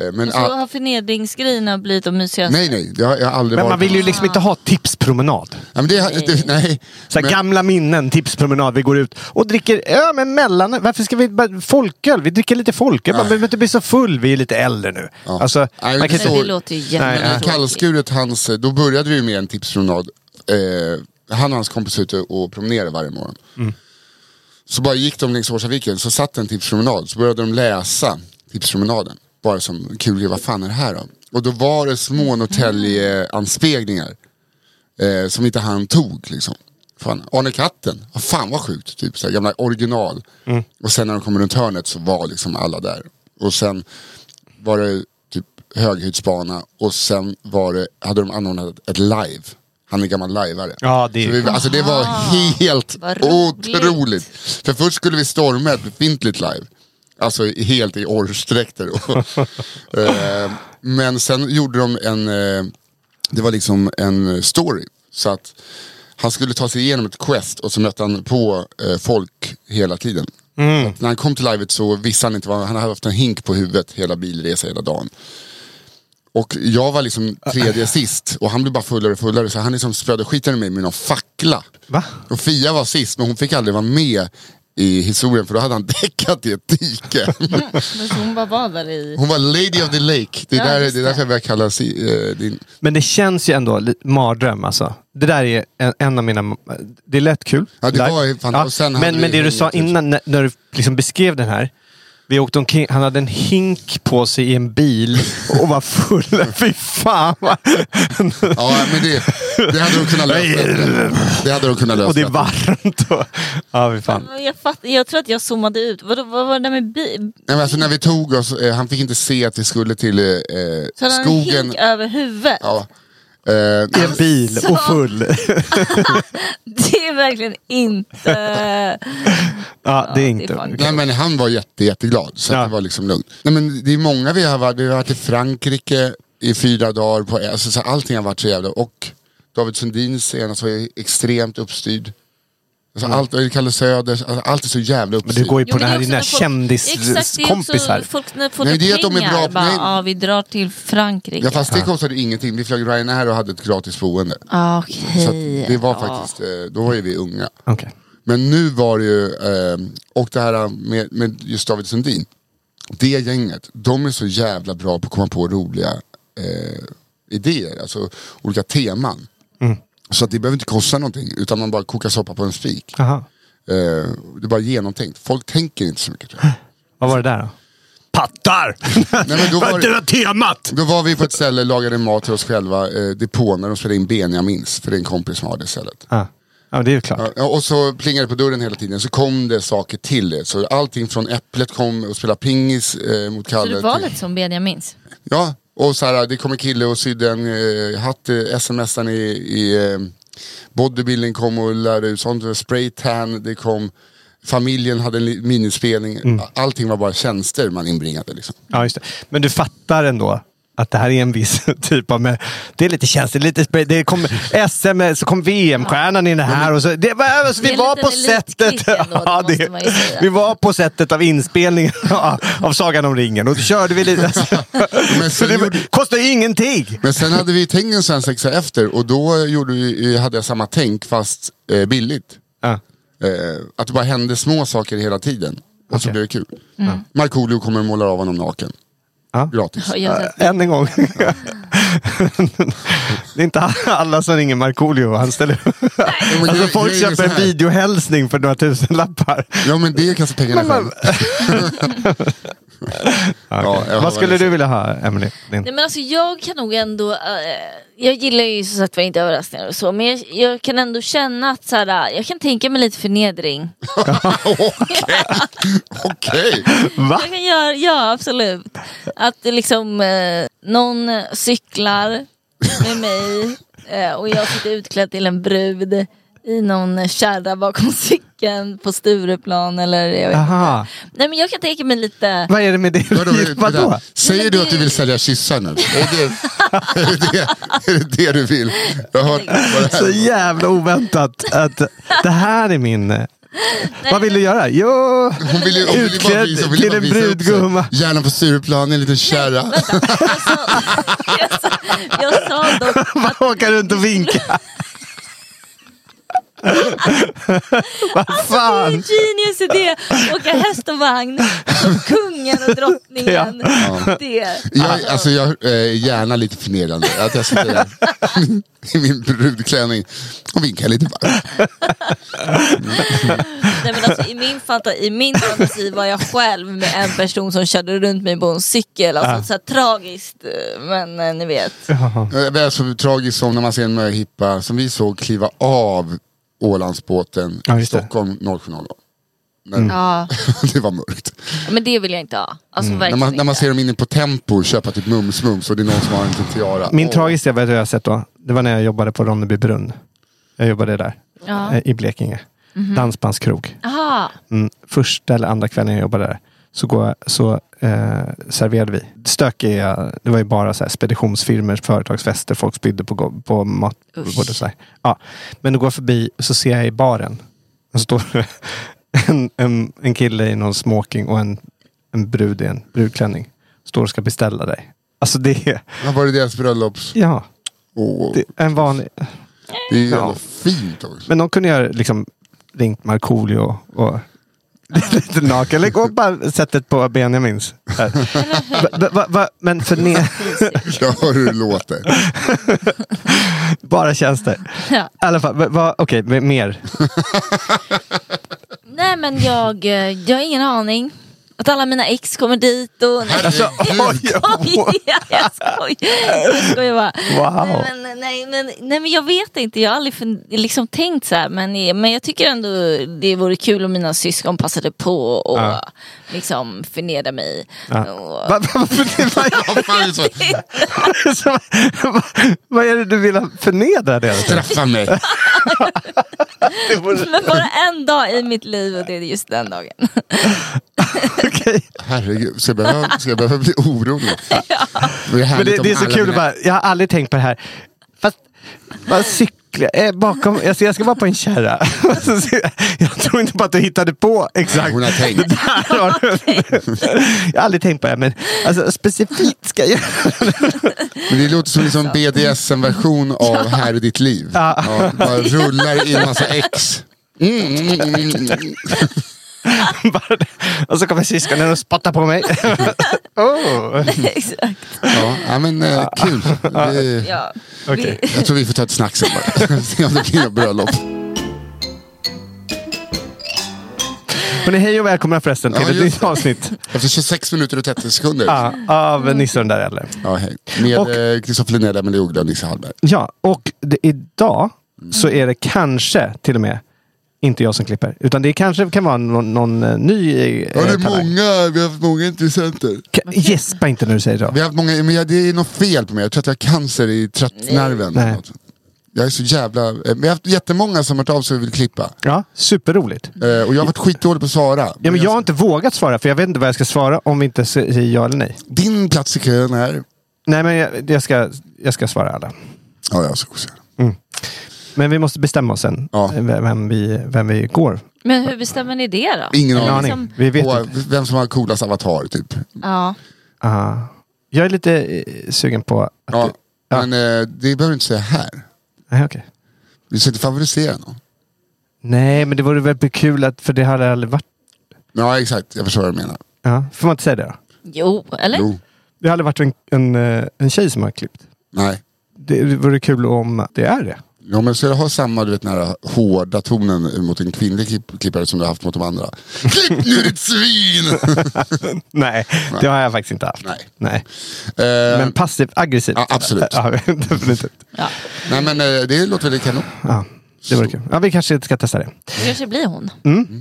Speaker 3: Eh, Men
Speaker 5: så
Speaker 3: all...
Speaker 5: har förnedringsgrejerna blivit de mysigaste.
Speaker 3: Nej nej, det har, jag har aldrig
Speaker 4: Men
Speaker 3: varit
Speaker 4: man vill ju
Speaker 3: på-
Speaker 4: liksom inte ha tipspromenad.
Speaker 3: Nej, men det, har- det, nej.
Speaker 4: Så här,
Speaker 3: Men-
Speaker 4: Gamla minnen, tipspromenad. Vi går ut och dricker öl med mellan. Varför ska vi bara folköl? Vi dricker lite folköl. Man behöver inte bli så full. Vi är lite äldre nu.
Speaker 3: Ja.
Speaker 4: Alltså,
Speaker 3: Nej,
Speaker 4: man kan
Speaker 3: så-
Speaker 5: Men
Speaker 4: inte...
Speaker 5: det låter ju
Speaker 4: Nej,
Speaker 3: Men
Speaker 4: nej.
Speaker 5: jättetråkigt.
Speaker 3: kallskuret, hans, eh, då började vi ju med en tipspromenad. Eh, han och hans kompis ute och promenerade varje morgon.
Speaker 4: Mm.
Speaker 3: Så bara gick de längs Årstaviken, så satt en tipspromenad, så började de läsa tipspromenaden. Bara som kul grej, vad fan är det här då? Och då var det små Norrtälje-anspelningar eh, som inte han tog liksom. Fan, Arne Katten, vad fan vad sjukt, typ så här, gamla original.
Speaker 4: Mm.
Speaker 3: Och sen när de kom runt hörnet så var liksom alla där. Och sen var det typ höghöjdsbana och sen var det, hade de anordnat ett live Han är gammal lajvare.
Speaker 4: Ja, det är
Speaker 3: Så
Speaker 4: ju
Speaker 3: vi, alltså det var helt
Speaker 5: vad roligt.
Speaker 3: otroligt. För först skulle vi storma ett befintligt live. Alltså i- helt i orrsdräkter. Och, eh, men sen gjorde de en, eh, det var liksom en story. Så att han skulle ta sig igenom ett quest och så mötte han på eh, folk hela tiden. Så att när han kom till livet så visste han inte vad, han hade haft en hink på huvudet hela bilresan hela dagen. Och jag var liksom tredje sist och han blev bara fullare och fullare så han liksom spöade skiten i mig med någon fackla.
Speaker 4: Va?
Speaker 3: Och Fia var sist men hon fick aldrig vara med i historien för då hade han däckat i ett dike.
Speaker 5: Men så hon bara var där i...
Speaker 3: Hon var lady of the lake. Det är,
Speaker 5: Ja,
Speaker 3: där,
Speaker 5: just
Speaker 3: det är
Speaker 5: det.
Speaker 3: därför jag börjar kalla si, eh, din...
Speaker 4: Men det känns ju ändå li- mardröm alltså. Det där är en, en av mina... Det lät kul.
Speaker 3: Ja, det
Speaker 4: Live.
Speaker 3: var ju fan- och sen hade
Speaker 4: men
Speaker 3: vi
Speaker 4: men det du
Speaker 3: inget
Speaker 4: sa
Speaker 3: liksom.
Speaker 4: innan när, när du liksom beskrev den här. Vi åkte omkring, han hade en hink på sig i en bil och var full. Fy fan. vad-
Speaker 3: Ja men det, det hade de kunnat lösa. bättre. Det hade de kunnat lösa.
Speaker 4: och det är
Speaker 3: bättre.
Speaker 4: varmt. Och, ja, fy fan.
Speaker 5: Jag, fatt, jag tror att jag zoomade ut. Vad, vad var det där med bi...
Speaker 3: Nej, men alltså, när vi tog oss, eh, han fick inte se att vi skulle till eh, eh,
Speaker 5: Så hade han en
Speaker 3: skogen.
Speaker 5: hink över huvudet.
Speaker 3: Ja. Eh,
Speaker 4: I en bil och full.
Speaker 5: Det är verkligen inte...
Speaker 4: Ja,
Speaker 5: det
Speaker 4: det är
Speaker 5: är
Speaker 4: inte...
Speaker 5: fan
Speaker 3: Nej men han var jätte, jätteglad, så
Speaker 4: Ja.
Speaker 3: att det var liksom lugnt. Nej, men det är många vi har varit, vi har varit i Frankrike i fyra dagar, på, alltså, så allting har varit så jävla, och David Sundin senast var ju extremt uppstyrd. Alltså, allt, och Kalle Söders, alltså, allt är så jävla
Speaker 4: Mm. Men
Speaker 3: uppstyrt.
Speaker 4: du går ju på
Speaker 5: Jo, men
Speaker 4: den
Speaker 5: det är
Speaker 4: här
Speaker 5: också
Speaker 4: dina
Speaker 5: när folk- Exakt, det är också
Speaker 4: kändiskompisar.
Speaker 5: Folk när folk
Speaker 3: Nej,
Speaker 5: har
Speaker 3: det är att de är
Speaker 5: pengar,
Speaker 3: bra-
Speaker 5: bara,
Speaker 3: nej.
Speaker 5: ja, vi drar till Frankrike.
Speaker 3: Ja fast det kostade ingenting, vi flög Ryanair och hade ett gratis boende.
Speaker 5: Ah,
Speaker 3: Så att
Speaker 5: Okej.
Speaker 3: det var
Speaker 5: Ja.
Speaker 3: faktiskt, eh, då var ju vi unga.
Speaker 4: Okej.
Speaker 3: Men nu var det ju, eh, och det här med, med just David Sundin, det gänget, de är så jävla bra på att komma på roliga eh, idéer, alltså olika teman. Så att det behöver inte kosta någonting, utan man bara kokar soppa på en spik.
Speaker 4: Aha.
Speaker 3: Eh, det är bara genomtänkt, folk tänker inte så mycket tror jag.
Speaker 4: Vad var det där då? Pattar!
Speaker 3: Nej, men då, var det,
Speaker 4: temat!
Speaker 3: då var vi på ett ställe, lagade mat till oss själva, eh, depå, när de spelade in Benjamins, för det är en kompis som har det stället.
Speaker 4: Ja, ja det är ju klart.
Speaker 3: Ja, och så plingade det på dörren hela tiden, så kom det saker till det. Så allting från Äpplet kom och spelade pingis eh, mot
Speaker 5: Så
Speaker 3: Kalle.
Speaker 5: du var
Speaker 3: till-
Speaker 5: lite som Benjamins?
Speaker 3: Ja, och så här, det kom en kille och sydde en eh, hatt, eh, sms'aren i, i eh, bodybuilding kom och lärde ut sånt, eh, spraytan, det kom, familjen hade en li- minispelning, allting var bara tjänster man inbringade liksom.
Speaker 4: Ja, just det. Men du fattar ändå att det här är en viss typ av... Med, det är lite känsligt. Lite, spe- det kom SM, så kom VM-stjärnan in här. Och så, det, var- alltså,
Speaker 5: Det är en
Speaker 4: vi var
Speaker 5: liten
Speaker 4: på sättet...
Speaker 5: elitklick ändå, det måste man ju säga.
Speaker 4: vi var på sättet av inspelningen av, av Sagan om ringen. Och då körde vi lite... Alltså,
Speaker 3: Men
Speaker 4: så
Speaker 3: sen
Speaker 4: det
Speaker 3: gjorde-
Speaker 4: var- kostar ju ingenting!
Speaker 3: Men sen hade vi tänkt en svensexa efter och då gjorde vi, hade jag samma tänk fast eh, billigt.
Speaker 4: Ja.
Speaker 3: Eh, att det bara hände små saker hela tiden. Och så
Speaker 4: Okej. Mm.
Speaker 3: blev det kul. Markoolio kommer och målar av honom naken.
Speaker 4: Ja.
Speaker 3: Gratis.
Speaker 5: Ja, jag-
Speaker 4: Äh, Än en gång. det är inte alla som ringer Markoolio. Han ställer
Speaker 3: men
Speaker 4: alltså,
Speaker 3: grej-
Speaker 4: folk
Speaker 3: grejen är
Speaker 4: köper
Speaker 3: så
Speaker 4: en
Speaker 3: här.
Speaker 4: videohälsning för några tusen lappar.
Speaker 3: Ja men det kastar pengarna själv. Ja, jag liksom- har
Speaker 4: Vad skulle
Speaker 3: varit-
Speaker 4: du vilja ha, Emily? Din...
Speaker 5: Nej, men alltså, jag kan nog ändå, eh, jag gillar ju som sagt var inte överraskningar och så, men jag, jag kan ändå känna att så här, eh, jag kan tänka mig lite förnedring.
Speaker 3: Okej.
Speaker 4: Va?
Speaker 5: Jag kan göra, ja absolut. Att det liksom eh, någon cyklar med mig eh, och jag sitter utklädd till en brud i någon kärra bakom cykeln på Stureplan eller jag vet inte.
Speaker 4: Aha.
Speaker 5: Nej men jag kan tänka mig lite,
Speaker 4: Vad är det med det?
Speaker 3: Vadå, vänta.
Speaker 4: Vadå?
Speaker 3: Säger
Speaker 5: men
Speaker 3: du
Speaker 5: det-
Speaker 3: att du vill sälja kyssar nu? Är det är det, är det, det du vill? Jag har hört vad det
Speaker 4: Så
Speaker 3: här.
Speaker 4: jävla oväntat att det här är min... Vad vill du göra? Jo,
Speaker 3: Hon vill ju, hon vill ju bara
Speaker 4: Utklädd
Speaker 3: visa, hon vill ju
Speaker 4: till
Speaker 3: bara
Speaker 4: en
Speaker 3: visa upp sig.
Speaker 4: brudgumma.
Speaker 3: Gärna på Stureplan, en liten kärra.
Speaker 5: jag sa, jag sa dock
Speaker 4: bara åka runt och vinka. Vad
Speaker 5: Det är
Speaker 4: fan?
Speaker 5: en genius idé! Åka häst och vagn som kungen och drottningen. Det.
Speaker 3: Jag, alltså jag eh, gärna lite förnedrande. Att jag sitter där i min brudklänning och vinkar lite varmt.
Speaker 5: Nej, men alltså, i, min fanta, I min fantasi var jag själv med en person som körde runt mig på en cykel. Alltså, så här, tragiskt, eh, men eh, ni vet.
Speaker 3: Eh, Det är så tragiskt som när man ser en möhippa som vi såg kliva av Ålandsbåten
Speaker 4: Ja,
Speaker 3: i
Speaker 4: just det. Mm.
Speaker 3: Stockholm 07.00. När
Speaker 5: Ja,
Speaker 3: det var mörkt.
Speaker 5: men det vill jag inte ha. Alltså
Speaker 3: Mm. När
Speaker 5: verkligen
Speaker 3: man, när man
Speaker 5: inte.
Speaker 3: ser dem inne på Tempo och köpa typ mums-mums och det är någon som har en liten tiara.
Speaker 4: Min
Speaker 3: Åh.
Speaker 4: tragiska, vet du vad jag har sett då? Det var när jag jobbade på Ronneby brunn. Jag jobbade där
Speaker 5: Ja. Mhm.
Speaker 4: eh, i Blekinge. Dansbandskrog.
Speaker 5: Aha.
Speaker 4: Mm. Första eller andra kvällen jag jobbade där så, går jag, så eh, serverade vi. Stökiga, det var ju bara så här speditionsfirmor, företagsfester, folk spydde på, go- på matbordet. och Så här. ja. Men då går jag förbi och så ser jag i baren. Och så står det en, en, en kille i någon smoking och en, en brud i en brudklänning. Står och ska beställa dig. Alltså det är,
Speaker 3: Ja, var det deras bröllops?
Speaker 4: ja,
Speaker 3: Åh,
Speaker 4: det är en vanlig...
Speaker 3: det är ju
Speaker 4: Ja.
Speaker 3: jävla fint också.
Speaker 4: Men de kunde göra liksom ringt Markoolio och lite naken. Eller gå bara sättet på Benjamins. Här. Va, va, va, men förne-
Speaker 3: Jag hör hur det låter.
Speaker 4: bara tjänster.
Speaker 5: Ja.
Speaker 4: I alla fall, va, va, okej, men mer.
Speaker 5: Nej men jag, eh, jag har ingen aning. Att alla mina ex kommer dit och... Nej,
Speaker 3: Alltså,
Speaker 4: oj,
Speaker 5: Oj, jag skojar. Jag skojar bara.
Speaker 4: Wow.
Speaker 5: Nej, men, nej, men, nej men jag vet inte, jag har aldrig fun- liksom tänkt så här. Men, men jag tycker ändå det vore kul om mina syskon passade på och
Speaker 4: Ja.
Speaker 5: liksom förnedra mig. Och,
Speaker 4: Va, va, varför det- vad,
Speaker 3: Ja, fan, det är så.
Speaker 4: så- va, vad är det du vill ha- förnedra det?
Speaker 3: Träffa mig.
Speaker 4: det vore,
Speaker 5: men bara en dag i mitt liv och det är just den dagen.
Speaker 4: okej.
Speaker 3: Herregud, ska jag behöva, ska jag behöva bli orolig? Det är,
Speaker 4: Men
Speaker 3: härligt
Speaker 4: det,
Speaker 3: om
Speaker 4: det är så
Speaker 3: alla
Speaker 4: kul, att
Speaker 3: mina-
Speaker 4: bara, jag har aldrig tänkt på det här. Fast, vad cykla, eh, bakom, jag ska, jag ska vara på en kärra. Så ser jag- jag tror inte på att du hittade på exakt.
Speaker 3: Hon har tänkt.
Speaker 4: Det där har du. Jag har aldrig tänkt på det, men alltså, specifikt ska jag
Speaker 3: Men det låter som liksom BDSM-version av Här är ditt liv. Ja, bara rullar in massa ex. Mm, mm, mm, mm.
Speaker 4: bara, Och så kommer syskonen och spottar på mig. oh.
Speaker 5: Exakt.
Speaker 3: Ja, ja, men eh, kul. Det,
Speaker 5: Ja.
Speaker 4: Okej.
Speaker 5: Vi-
Speaker 3: jag tror vi får ta ett snack sen bara. Se om det blir något bröllop.
Speaker 4: Hörrni, hej och välkomna förresten till
Speaker 3: Ja,
Speaker 4: ett
Speaker 3: just
Speaker 4: nytt avsnitt
Speaker 3: Efter 26 minuter och 30 sekunder.
Speaker 4: ja, av Nisse och den där äldre.
Speaker 3: Ja, hej. Med
Speaker 4: Och-
Speaker 3: eh, Kristoffer Linnell, Emelie Uggla och Nisse Hallberg.
Speaker 4: Ja, och det, idag så
Speaker 3: Mm.
Speaker 4: är det kanske till och med inte jag som klipper. Utan det kanske kan vara någon, någon eh, ny eh,
Speaker 3: Ja, det är
Speaker 4: talang.
Speaker 3: många, vi har haft många intressenter.
Speaker 4: Ka- Gäspa inte när du säger
Speaker 3: Vi
Speaker 4: det.
Speaker 3: har haft många, men jag, det är något fel på mig. Jag tror att jag har cancer i trattnerven. eller
Speaker 4: Nej.
Speaker 3: något. Jag är så jävla... eh, Vi har haft jättemånga som har hört av sig och vill klippa.
Speaker 4: Ja, superroligt.
Speaker 3: Eh, och jag har varit skitdålig på att svara.
Speaker 4: Ja, men jag har inte vågat svara för jag vet inte vad jag ska svara om vi inte säger ja eller nej.
Speaker 3: Din plats i kön är...
Speaker 4: Nej, men jag, jag, ska, jag ska svara alla.
Speaker 3: Ja, jag ska också göra det.
Speaker 4: Men vi måste bestämma oss sen
Speaker 3: Mm. Ja.
Speaker 4: eh, vem, vem vi, vem vi går.
Speaker 5: Men hur bestämmer ni det då?
Speaker 3: Ingen
Speaker 4: Ingen
Speaker 3: aning.
Speaker 4: aning. Vi vet
Speaker 3: Och
Speaker 4: inte.
Speaker 3: vem som har coolast avatar, typ.
Speaker 5: Ja.
Speaker 4: Ah. jag är lite eh, sugen på... Att
Speaker 3: Ja,
Speaker 4: du- ja.
Speaker 3: Men eh, det behöver du inte säga här.
Speaker 4: Nej, okej.
Speaker 3: Vi ska inte favorisera någon.
Speaker 4: nej, men det vore väl kul att... För det har det aldrig varit...
Speaker 3: Ja, exakt. Jag förstår vad du menar.
Speaker 4: Ja. Får man inte säga det då?
Speaker 5: Jo, eller?
Speaker 3: Jo.
Speaker 4: Det har aldrig varit en, en, eh, en tjej som har klippt.
Speaker 3: Nej.
Speaker 4: Det vore kul om det är det.
Speaker 3: Ja, men ska du ha samma du vet, den här hårda tonen mot en kvinnlig klipp- klippare som du har haft mot de andra? Klipp nu ditt svin!
Speaker 4: Nej, det har jag faktiskt inte haft.
Speaker 3: Nej.
Speaker 4: Nej.
Speaker 3: Eh,
Speaker 4: Men passivt aggressivt.
Speaker 3: Ja, absolut.
Speaker 4: Ja, definitivt.
Speaker 5: Ja.
Speaker 3: Nej men eh, det låter väl kanon.
Speaker 4: Ja, det vore kul. Ja, vi kanske ska testa det.
Speaker 5: Det kanske blir hon.
Speaker 4: Mm.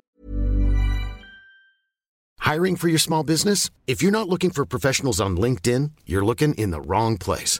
Speaker 6: Hiring for your small business? If you're not looking for professionals on LinkedIn, you're looking in the wrong place.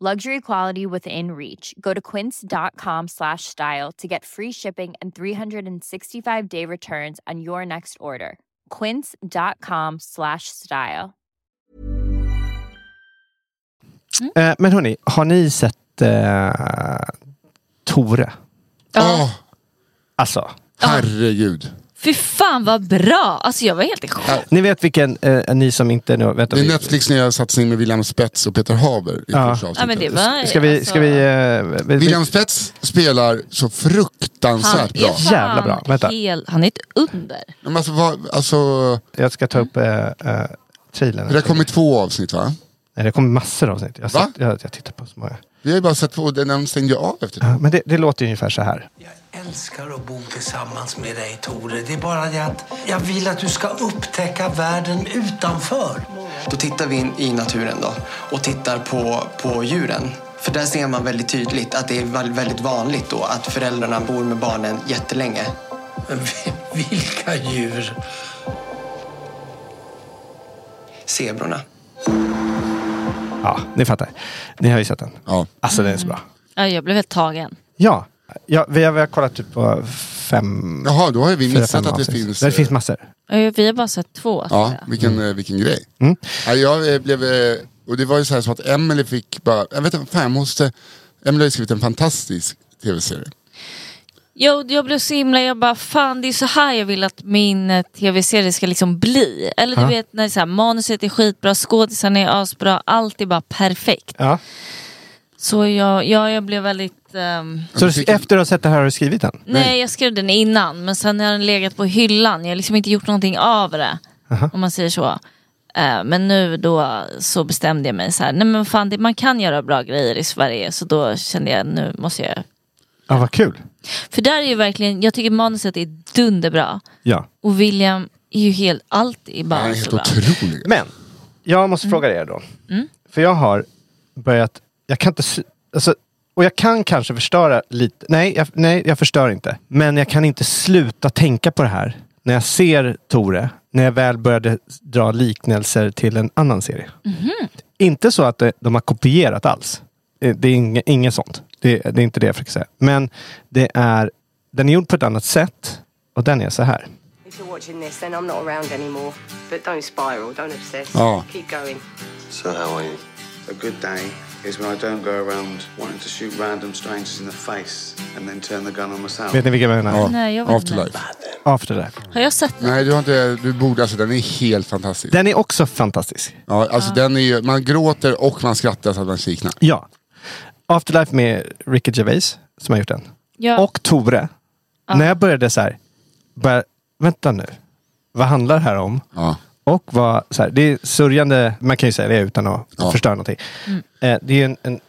Speaker 7: Luxury quality within reach. Go to quince.com slash style to get free shipping and 365 day returns on your next order. Quince.com slash style.
Speaker 4: Eh, men hörni, har ni sett eh, Tore?
Speaker 5: Ja.
Speaker 3: Åh,
Speaker 4: Alltså,
Speaker 3: herregud.
Speaker 5: Fy fan vad bra! Alltså jag var helt i chock.
Speaker 4: ni vet vilken, eh, ni som inte... Nu, vänta,
Speaker 3: Det är
Speaker 4: vi-
Speaker 3: Netflix nya satsning med William Spets och Peter Haber i
Speaker 4: Ja.
Speaker 3: första
Speaker 5: Ja, men det
Speaker 3: avsnittet.
Speaker 5: var, alltså-
Speaker 4: Ska vi... Ska vi, eh, vi,
Speaker 3: William Spets spelar så
Speaker 5: han
Speaker 3: fruktansvärt bra.
Speaker 5: är fan
Speaker 4: Jävla bra. Vänta.
Speaker 5: Hel, han är ett under.
Speaker 3: Ja, Men alltså, vad, alltså,
Speaker 4: jag ska ta upp eh, eh, trailern.
Speaker 3: det har kommit två avsnitt va?
Speaker 4: Nej, det kommer massor av avsnitt. Jag,
Speaker 3: Va?
Speaker 4: satt- jag, jag tittar på så många.
Speaker 3: Vi har ju bara sett två, den den stängde jag av efter det.
Speaker 4: Ja, Men det, det låter ju ungefär så här.
Speaker 8: Jag älskar att bo tillsammans med dig, Tore. Det är bara det att jag vill att du ska upptäcka världen utanför.
Speaker 9: Då tittar vi in i naturen då och tittar på, på djuren. För där ser man väldigt tydligt att det är väl- väldigt vanligt då att föräldrarna bor med barnen jättelänge.
Speaker 8: Men vi- Vilka djur?
Speaker 9: Zebrorna.
Speaker 4: Ja, ni fattar. Ni har ju sett den.
Speaker 3: Ja.
Speaker 4: Alltså den är så bra.
Speaker 5: Ja, jag blev helt tagen.
Speaker 4: Ja, ja vi, har, vi har kollat typ på fem...
Speaker 3: Jaha, då har ju vi
Speaker 4: fyra,
Speaker 3: missat
Speaker 4: fem
Speaker 3: att det
Speaker 4: avsnitt.
Speaker 3: finns.
Speaker 4: Det
Speaker 3: eh,
Speaker 4: finns massor.
Speaker 5: Ja, Vi har bara sett två. tror
Speaker 3: Ja,
Speaker 5: jag.
Speaker 3: vilken, eh, vilken grej.
Speaker 4: Mm.
Speaker 3: Ja, jag eh, blev, eh, och det var ju så här så att Emily fick bara, jag vet inte, fan jag måste, Emily har ju skrivit en fantastisk tv-serie.
Speaker 5: Jag, jag blev så himla, jag bara fan det är så här jag vill att min eh, tv-serie ska liksom bli. Eller du vet när det är så här, manuset är skitbra, skådisarna är asbra, allt är bara perfekt.
Speaker 4: Ja.
Speaker 5: Så jag, jag, jag blev väldigt... ehm,
Speaker 4: Så
Speaker 3: vi fick-
Speaker 4: du, efter att ha sett det här har du skrivit den?
Speaker 5: nej jag skrev den innan men sen har den legat på hyllan, jag har liksom inte gjort någonting av det. Om man säger så. Eh, men nu då så bestämde jag mig så här, nej men fan det, man kan göra bra grejer i Sverige så då kände jag nu måste jag...
Speaker 4: Ja, vad kul.
Speaker 5: För där är ju verkligen, jag tycker manuset är dunderbra.
Speaker 4: Ja.
Speaker 5: Och William är ju helt, allt är
Speaker 3: Han
Speaker 5: bara
Speaker 3: är helt
Speaker 5: så bra.
Speaker 3: otrolig.
Speaker 4: Men, jag måste fråga er då. För jag har börjat, jag kan inte, sy- alltså, och jag kan kanske förstöra lite, nej jag, nej jag förstör inte. Men jag kan inte sluta tänka på det här när jag ser Tore, när jag väl började dra liknelser till en annan serie. Inte så att det, de har kopierat alls. Eh, Det är inget, inget sånt. Det, det är inte det jag försöker säga. Men det är, den är gjord på ett annat sätt och den är så här.
Speaker 10: If you're watching this, then I'm not around anymore. But don't spiral, don't obsess.
Speaker 3: Ja.
Speaker 10: Keep going.
Speaker 11: So how are you? A good day is when I don't go around wanting to shoot random strangers in the face and then turn the gun on myself.
Speaker 4: Vet ni vilken jag menar?
Speaker 3: Ja,
Speaker 5: Nej, jag vet inte.
Speaker 3: Afterlife.
Speaker 4: Afterlife.
Speaker 5: Har jag sett den?
Speaker 3: Nej, du har inte, du borde, alltså den är helt fantastisk.
Speaker 4: Den är också fantastisk.
Speaker 3: Ja, alltså den är ju, man gråter och man skrattar så att man kiknar.
Speaker 4: Ja. Afterlife med Ricky Gervais som har gjort den.
Speaker 5: Ja.
Speaker 4: Och Tore. När jag började så här, bara, vänta nu, vad handlar det här om?
Speaker 3: Ja.
Speaker 4: Och vad, så här, det är sörjande, man kan ju säga det utan att
Speaker 3: Ja.
Speaker 4: förstöra någonting. Eh, det är ju en, en,